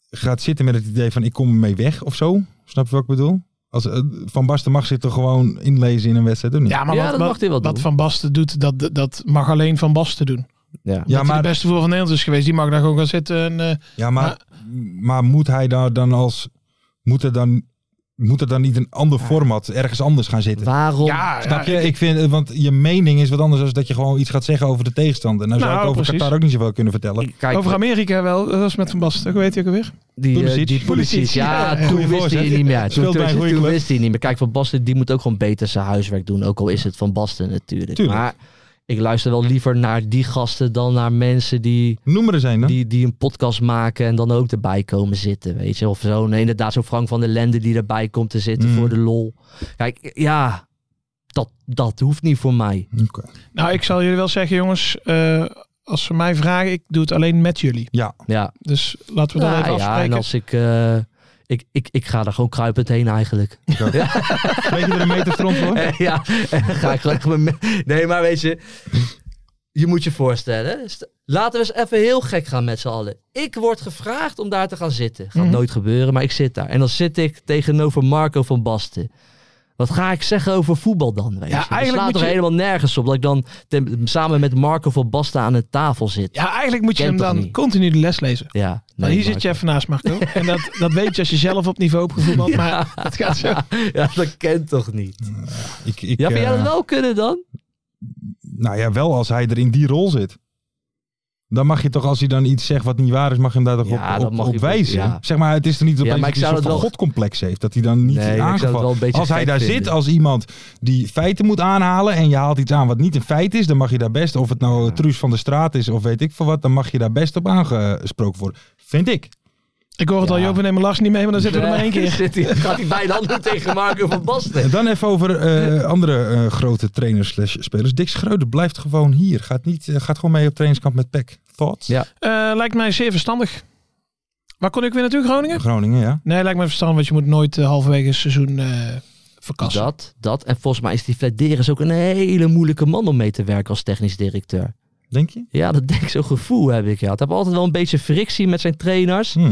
C: gaat zitten met het idee van ik kom ermee weg of zo, snap je wat ik bedoel? Als, eh, van Basten mag zich toch gewoon inlezen in een wedstrijd, of niet?
D: Ja, maar
E: Ja,
D: wat,
E: dat
D: wat-
E: mag hij wel
D: wat
E: doen.
D: Van Basten doet, dat, dat mag alleen Van Basten doen.
E: Ja.
C: ja,
D: dat maar, de
C: maar,
D: beste voetballer van Nederland is geweest. Die mag daar gewoon gaan zitten. En, eh,
C: ja maar, maar moet hij daar dan als, moet er dan, moet er dan niet een ander format ergens anders gaan zitten?
E: Waarom?
D: ja,
E: Nou,
C: Snap je?
D: ja,
C: Ik vind, eh, want je mening is wat anders dan dat je gewoon iets gaat zeggen over de tegenstander. Nou, zou
D: Nou,
C: ik over
D: precies.
C: Qatar ook niet zoveel kunnen vertellen.
E: Ik- Kijk,
D: Over Amerika wel. Dat was met Van Basten. Hoe heet hij ook alweer?
E: die, eh,
C: Pulisic.
E: die Pulisic, ja,
C: Ja,
E: toen
C: goeie
E: wist hij
C: voorzet.
E: het niet meer. Toen,
C: Speelt bij een
E: toen,
C: goede
E: toen
C: club.
E: wist hij het niet meer. Kijk, Van Basten die moet ook gewoon beter zijn huiswerk doen. Ook al is het Van Basten natuurlijk.
C: Tuurlijk.
E: Maar ik luister wel liever naar die gasten dan naar mensen die...
C: Noem er eens een dan.
E: die, die een podcast maken en dan ook erbij komen zitten, weet je. Of zo, nee, inderdaad, zo Frank van der Lende die erbij komt te zitten
C: Mm.
E: voor de lol. Kijk, ja, dat, dat hoeft niet voor mij.
C: Oké.
D: Nou, ik zal jullie wel zeggen, jongens. eh, als ze mij vragen, ik doe het alleen met jullie.
C: Ja,
E: Ja,
D: Dus laten we dat
E: Nou,
D: even
E: ja en
D: afspreken.
E: als ik, eh, ik, ik, ik ga er gewoon kruipend heen eigenlijk.
C: Weet je er een meter front voor?
E: ja, en dan ga ik gewoon echt mijn me- Nee, maar weet je, je moet je voorstellen. st- Laten we eens even heel gek gaan met z'n allen. Ik word gevraagd om daar te gaan zitten. Gaat
D: Mhm.
E: nooit gebeuren, maar ik zit daar. En dan zit ik tegenover Marco van Basten. Wat ga ik zeggen over voetbal dan? Weet
D: Ja,
E: je? Dat
D: eigenlijk
E: slaat
D: moet
E: er
D: je-
E: helemaal nergens op. Dat ik dan ten- samen met Marco van Basten aan een tafel zit.
D: Ja, eigenlijk moet je
E: Kent
D: hem
E: toch
D: dan
E: niet?
D: continu de les lezen.
E: Ja,
D: Maar
E: nee,
D: hier zit je even naast Marco. En dat, dat weet je als je zelf op niveau hebt gevoetbald. Maar het gaat zo.
E: Marco. Ja, dat kent toch niet?
C: Ik, ik,
E: Ja, vind jij
C: eh,
E: dat wel kunnen dan?
C: Nou ja, wel als hij er in die rol zit. Dan mag je toch, als hij dan iets zegt wat niet waar is, mag je hem daar toch
E: Ja,
C: op,
E: dat
C: op,
E: mag
C: op
E: je-
C: wijzen.
E: ja.
C: Zeg maar, het is er niet opeens
E: maar
C: dat
E: ik
C: hij
E: zou
C: een soort van
E: dat wel-
C: godcomplex heeft. Dat hij dan niet
E: Nee, ik zou het wel een
C: aangevallen
E: beetje
C: Als hij
E: gek
C: daar zit
E: vinden.
C: als iemand die feiten moet aanhalen en je haalt iets aan wat niet een feit is, dan mag je daar best, of het nou Truus van de Straat is of weet ik veel wat, dan mag je daar best op aangesproken worden. Vind ik.
D: Ik hoor het al,
E: Ja.
D: Joop, we nemen Lars niet mee, maar dan zitten we er maar één keer.
E: Zit hij, gaat hij bijna handen tegen Marco van Basten.
C: En dan even over eh, andere eh, grote trainers slash spelers. Dick Schreuder blijft gewoon hier. Gaat, niet, eh, gaat gewoon mee op trainingskamp met PEC. Thoughts?
E: Ja.
D: Eh, lijkt mij zeer verstandig. Waar kon ik weer naartoe, Groningen?
C: Groningen, ja.
D: Nee, lijkt mij verstandig, want je moet nooit eh, halverwege het seizoen eh, verkassen.
E: Dat, dat. En volgens mij is die Flederis ook een hele moeilijke man om mee te werken als technisch directeur.
C: Denk je?
E: Ja, dat denk ik zo'n gevoel heb ik. Ja. Het heb altijd wel een beetje frictie met zijn trainers.
C: Hm.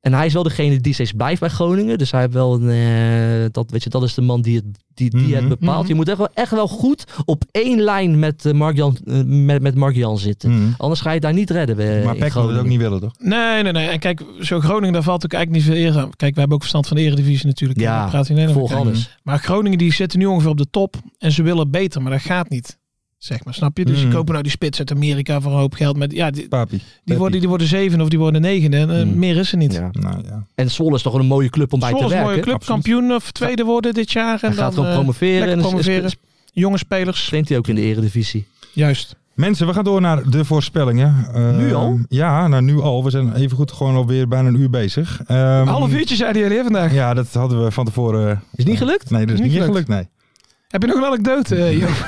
E: En hij is wel degene die steeds blijft bij Groningen. Dus hij heeft wel een. eh, dat, weet je, dat is de man die het, die, die het
C: Mhm.
E: bepaalt. Je moet echt wel, echt wel goed op één lijn met, eh, Mark, Jan, eh, met, met Mark Jan zitten.
C: Hm.
E: Anders ga je het daar niet redden. eh,
C: Maar Peck
E: in
C: wil het
E: Groningen.
C: ook niet willen, toch?
D: Nee, nee, nee. En kijk, zo Groningen, daar valt ook eigenlijk niet veel eer aan. Kijk, we hebben ook verstand van de eredivisie natuurlijk.
E: Ja,
D: We praten hier alleen maar
E: Volg
D: over.
E: alles.
D: Maar Groningen, die zitten nu ongeveer op de top. En ze willen beter, maar dat gaat niet. Zeg maar, snap je? Dus
E: Hmm.
D: die
C: Mm.
D: kopen nou die spits uit Amerika voor een hoop geld. Maar ja, die,
C: Papi.
D: die, worden, die worden zeven of die worden negende. En eh,
E: Mm.
D: meer is er niet.
E: Ja.
C: Nou ja.
E: En Zwolle is toch wel een mooie club om bij
D: Zwolle
E: te
D: is een
E: werken.
D: mooie club,
C: absoluut.
D: kampioen of tweede worden dit jaar. En
E: Hij gaat
D: dan
E: gewoon
D: eh,
E: promoveren.
D: lekker
E: En
D: promoveren.
E: is-
D: jonge spelers.
E: Traint hij ook in de eredivisie.
D: Juist.
C: Mensen, we gaan door naar de voorspellingen. Eh,
E: Nu al?
C: Ja, nou nu al. We zijn even goed gewoon alweer bijna een uur bezig. Ehm,
D: Een half uurtje zeiden jullie hè, vandaag.
C: Ja, dat hadden we van tevoren.
E: Is niet gelukt?
C: Nee, dat is
D: Niet
C: niet,
D: gelukt.
C: gelukt, nee.
D: Heb je nog een anekdote? eh, Joop?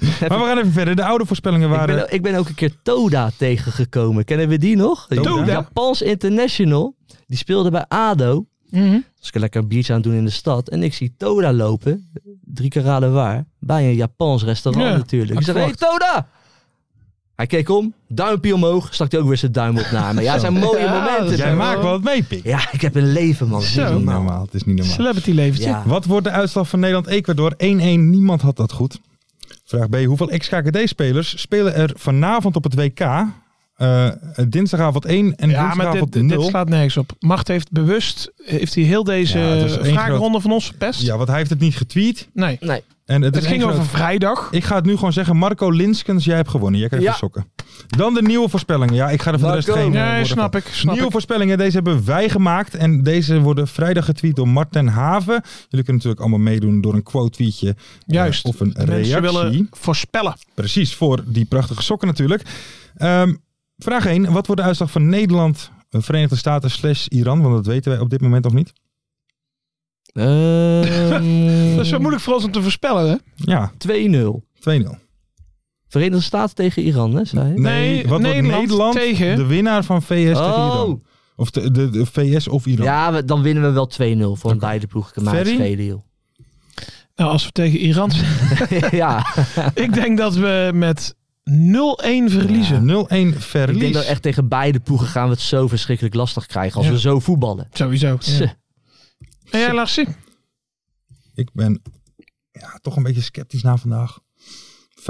C: Maar we gaan even verder. De oude voorspellingen
E: Ik
D: eh,
C: waren...
E: ben, ik ben ook een keer Toda tegengekomen. Kennen we die nog? De
C: Toda?
E: Japans international. Die speelde bij ADO.
D: Mhm.
E: Dus ik lekker een biertje aan het doen in de stad. En ik zie Toda lopen. Drie keer raden waar. Bij een Japans restaurant
D: Ja,
E: natuurlijk. Ik zeg, hey Toda! Hij keek om. Duimpje omhoog. Stak hij ook weer zijn duim op naar me. Ja, het zijn mooie
D: Ja,
E: momenten.
C: Jij
D: Zo.
C: maakt wel het mee, Pik.
E: Ja, ik heb een leven man.
C: Het
E: nou.
C: is
D: Zo. nou,
C: niet normaal. Het is niet normaal.
D: Celebrity leventje.
E: Ja.
C: Wat wordt de uitslag van Nederland-Ecuador? 1-1. Niemand had dat goed. Vraag B. Hoeveel ex-KKD-spelers spelen er vanavond op het WK? Eh, dinsdagavond 1 en
D: Ja, maar
C: woensdagavond
D: dit, dit
C: 0.
D: slaat nergens op. Macht heeft bewust, heeft hij heel deze
C: Ja, het is één
D: vraagronde van ons verpest?
C: Ja, want hij heeft het niet getweet.
D: Nee.
E: Nee.
C: En het
D: Het
C: is
D: ging
C: één groot-
D: over vrijdag.
C: Ik ga het nu gewoon zeggen. Marco Linskens, jij hebt gewonnen. Jij krijgt
E: Ja.
C: de sokken. Dan de nieuwe voorspellingen. Ja, ik ga er voor de rest
E: Marco.
C: geen... eh,
D: Nee,
C: woorden
D: snap
C: van.
D: ik. Snap
C: Nieuwe
D: ik.
C: voorspellingen, deze hebben wij gemaakt. En deze worden vrijdag getweet door Marten Haven. Jullie kunnen natuurlijk allemaal meedoen door een quote-tweetje. eh,
D: Juist.
C: Of een reactie.
D: Mensen willen voorspellen.
C: Precies, voor die prachtige sokken natuurlijk. Ehm, vraag 1. Wat wordt de uitslag van Nederland, eh, Verenigde Staten slash Iran? Want dat weten wij op dit moment nog niet.
E: Ehm,
D: Dat is zo moeilijk voor ons om te voorspellen, hè?
C: Ja,
E: 2-0.
C: 2-0.
E: Verenigde Staten tegen Iran, hè, zei je?
D: Nee,
C: wat
D: Nederland
C: wordt Nederland
D: tegen-
C: de winnaar van VS tegen
E: Oh.
C: Iran? Of de, de, de VS of Iran?
E: Ja, we- dan winnen we wel 2-0 voor een beide ploegen. kan mij het
C: Ferry?
E: schelen, joh.
D: Nou, als we tegen Iran zijn.
E: ja,
D: ik denk dat we met 0-1 verliezen.
C: 0-1
E: ik denk
C: verlies.
E: dat echt tegen beide ploegen gaan we het zo verschrikkelijk lastig krijgen als
D: Ja.
E: we zo voetballen.
D: Sowieso.
E: Tse.
D: En jij, Larsie?
C: Ik ben ja, toch een beetje sceptisch na vandaag. 5-1.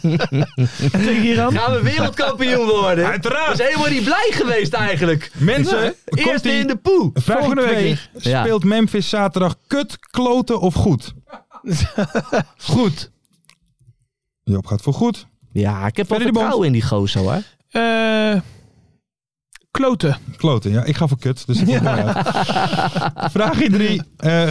D: Tegen Iran?
E: Gaan we wereldkampioen worden? We
C: Uiteraard!
E: zijn helemaal niet blij geweest eigenlijk.
C: Mensen, komt
E: Eerste
C: die
E: in de poe.
C: vraag
D: volgende week
C: 2.
D: weer.
E: Ja.
C: Speelt Memphis zaterdag kut, kloten of goed?
E: Goed.
C: Joop gaat voor goed.
E: Ja, ik heb wel
C: Ferry de Bond.
E: vertrouwen in die gozer hoor.
D: Eh, kloten.
C: Kloten, ja. Ik ga voor kut, dus dat komt er uit. Vraag 3.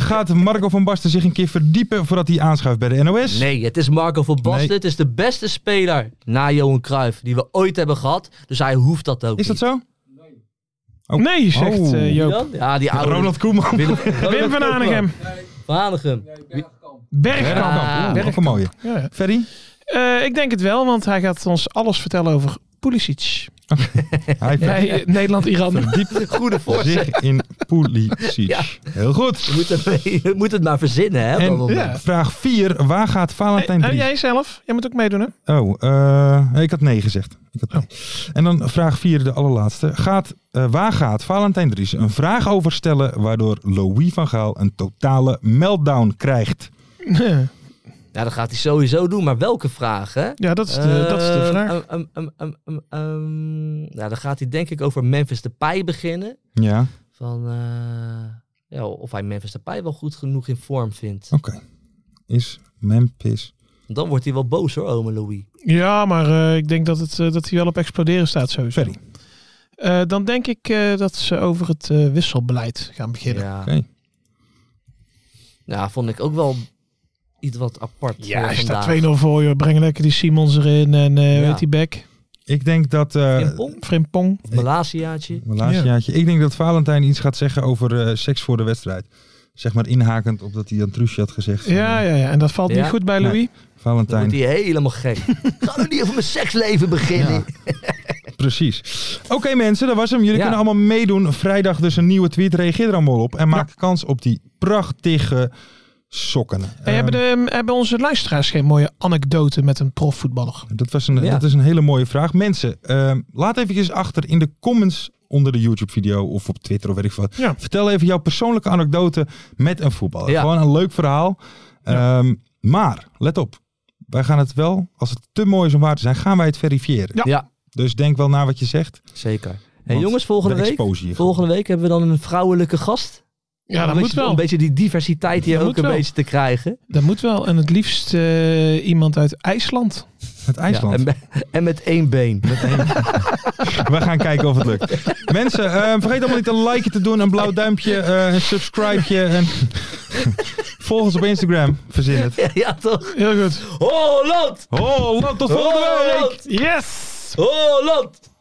C: gaat Marco van Basten zich een keer verdiepen voordat hij aanschuift bij de NOS?
E: Nee, het is Marco van Basten.
C: Nee.
E: Het is de beste speler na Johan Cruijff die we ooit hebben gehad. Dus hij hoeft dat ook
C: Is dat
E: niet.
C: zo? Oh.
D: Nee, zegt
C: Oh.
D: eh, Joop.
E: Dan? Ja, die oude...
C: Ronald Koeman.
E: Willem,
D: Wim van Hanegem.
E: Van Hanegem.
D: Bergkamp.
E: Ja.
C: Bergkamp. Ook een mooie.
D: Ja, ja.
C: Ferry?
D: Eh, ik denk het wel, want hij gaat ons alles vertellen over Pulisic.
C: Hij
D: Hij, eh, Nederland-Iran.
C: verdiept
E: Goede voorzet.
C: zich in Pulisic.
E: Ja.
C: Heel goed.
E: Je moet, het, je moet het maar verzinnen, hè? op dat
C: En
E: moment.
D: ja.
C: vraag 4. Waar gaat Valentijn
D: En
C: Dries?
D: jij zelf? Jij moet ook meedoen, hè?
C: Oh, eh, ik had nee gezegd. Ik had
D: Oh.
C: nee. En dan vraag 4, de allerlaatste. Gaat, eh, waar gaat Valentijn Dries een vraag over stellen... waardoor Louis van Gaal een totale meltdown krijgt?
E: Ja, dat gaat hij sowieso doen, maar welke vraag, hè?
D: Ja, dat is de, dat is de
E: Ehm,
D: vraag.
E: ehm, ehm, ehm, ehm, ehm, nou, dan gaat hij denk ik over Memphis Depay beginnen.
C: Ja,
E: Van, eh, ja, of hij Memphis Depay wel goed genoeg in vorm vindt.
D: Oh.
C: oké. Is Memphis...
E: Dan wordt hij wel boos hoor, ome Louis.
D: Ja, maar eh, ik denk dat, het, eh, dat hij wel op exploderen staat sowieso.
C: Ferry.
D: Eh, dan denk ik eh, dat ze over het eh, wisselbeleid gaan beginnen.
E: Ja.
C: Oké.
E: ja, vond ik ook wel iets wat apart
D: Ja,
E: eh,
D: hij
E: vandaag.
D: staat 2-0 voor je. Breng lekker die Simons erin en eh
E: Ja.
D: weet die back.
C: Ik denk dat... eh,
E: Frimpong?
D: Frimpong.
E: Of Malasiaatje?
C: mijn laatste
D: Ja.
C: jaartje. Ik denk dat Valentijn iets gaat zeggen over eh, seks voor de wedstrijd. Zeg maar inhakend op dat hij aan Truusje had gezegd.
D: Ja, ja, ja. En dat valt
E: Ja.
D: niet goed bij
C: Nee.
D: Louis.
E: Dan
C: Valentijn,
E: wordt hij helemaal gek. Ga nou niet over mijn seksleven beginnen.
C: precies. Oké mensen, dat was hem. Jullie
E: Ja.
C: kunnen allemaal meedoen. Vrijdag dus een nieuwe tweet. Reageer er allemaal op. En maak kans op die prachtige sokken.
D: En hebben, de, hebben onze luisteraars geen mooie anekdote met een profvoetballer?
C: Ehm, Dat, was een,
E: Ja.
C: dat is een hele mooie vraag. Mensen, ehm, laat eventjes achter in de comments onder de YouTube-video of op Twitter of weet ik wat.
D: Ja.
C: Vertel even jouw persoonlijke anekdote met een voetballer.
E: Ja.
C: Gewoon een leuk verhaal. Ehm, maar, let op. Wij gaan het wel, als het te mooi is om waar te zijn, gaan wij het verifiëren.
D: Ja.
E: Ja,
C: Dus denk wel na wat je zegt.
E: zeker. En
C: Want
E: jongens, volgende
C: we
E: week,
C: exposen je
E: volgende week hebben we dan een vrouwelijke gast.
D: Ja,
E: Om
D: dat
E: een
D: moet
E: beetje- Om
D: wel.
E: een beetje die diversiteit hier
D: Dat
E: ook
D: moet
E: een
D: wel.
E: beetje te krijgen.
D: Dat moet wel. En het liefst eh, iemand uit IJsland.
C: Het IJsland.
E: Ja, en, me- en met één been.
C: We gaan kijken of het lukt. Mensen, eh, vergeet allemaal niet een likeje te doen, een blauw duimpje, eh, een subscribeje. En... Volg ons op Instagram, verzin het.
E: ja, toch?
D: Heel goed.
E: Holland!
C: Oh, tot volgende week!
E: Holland!
D: Yes!
E: Holland!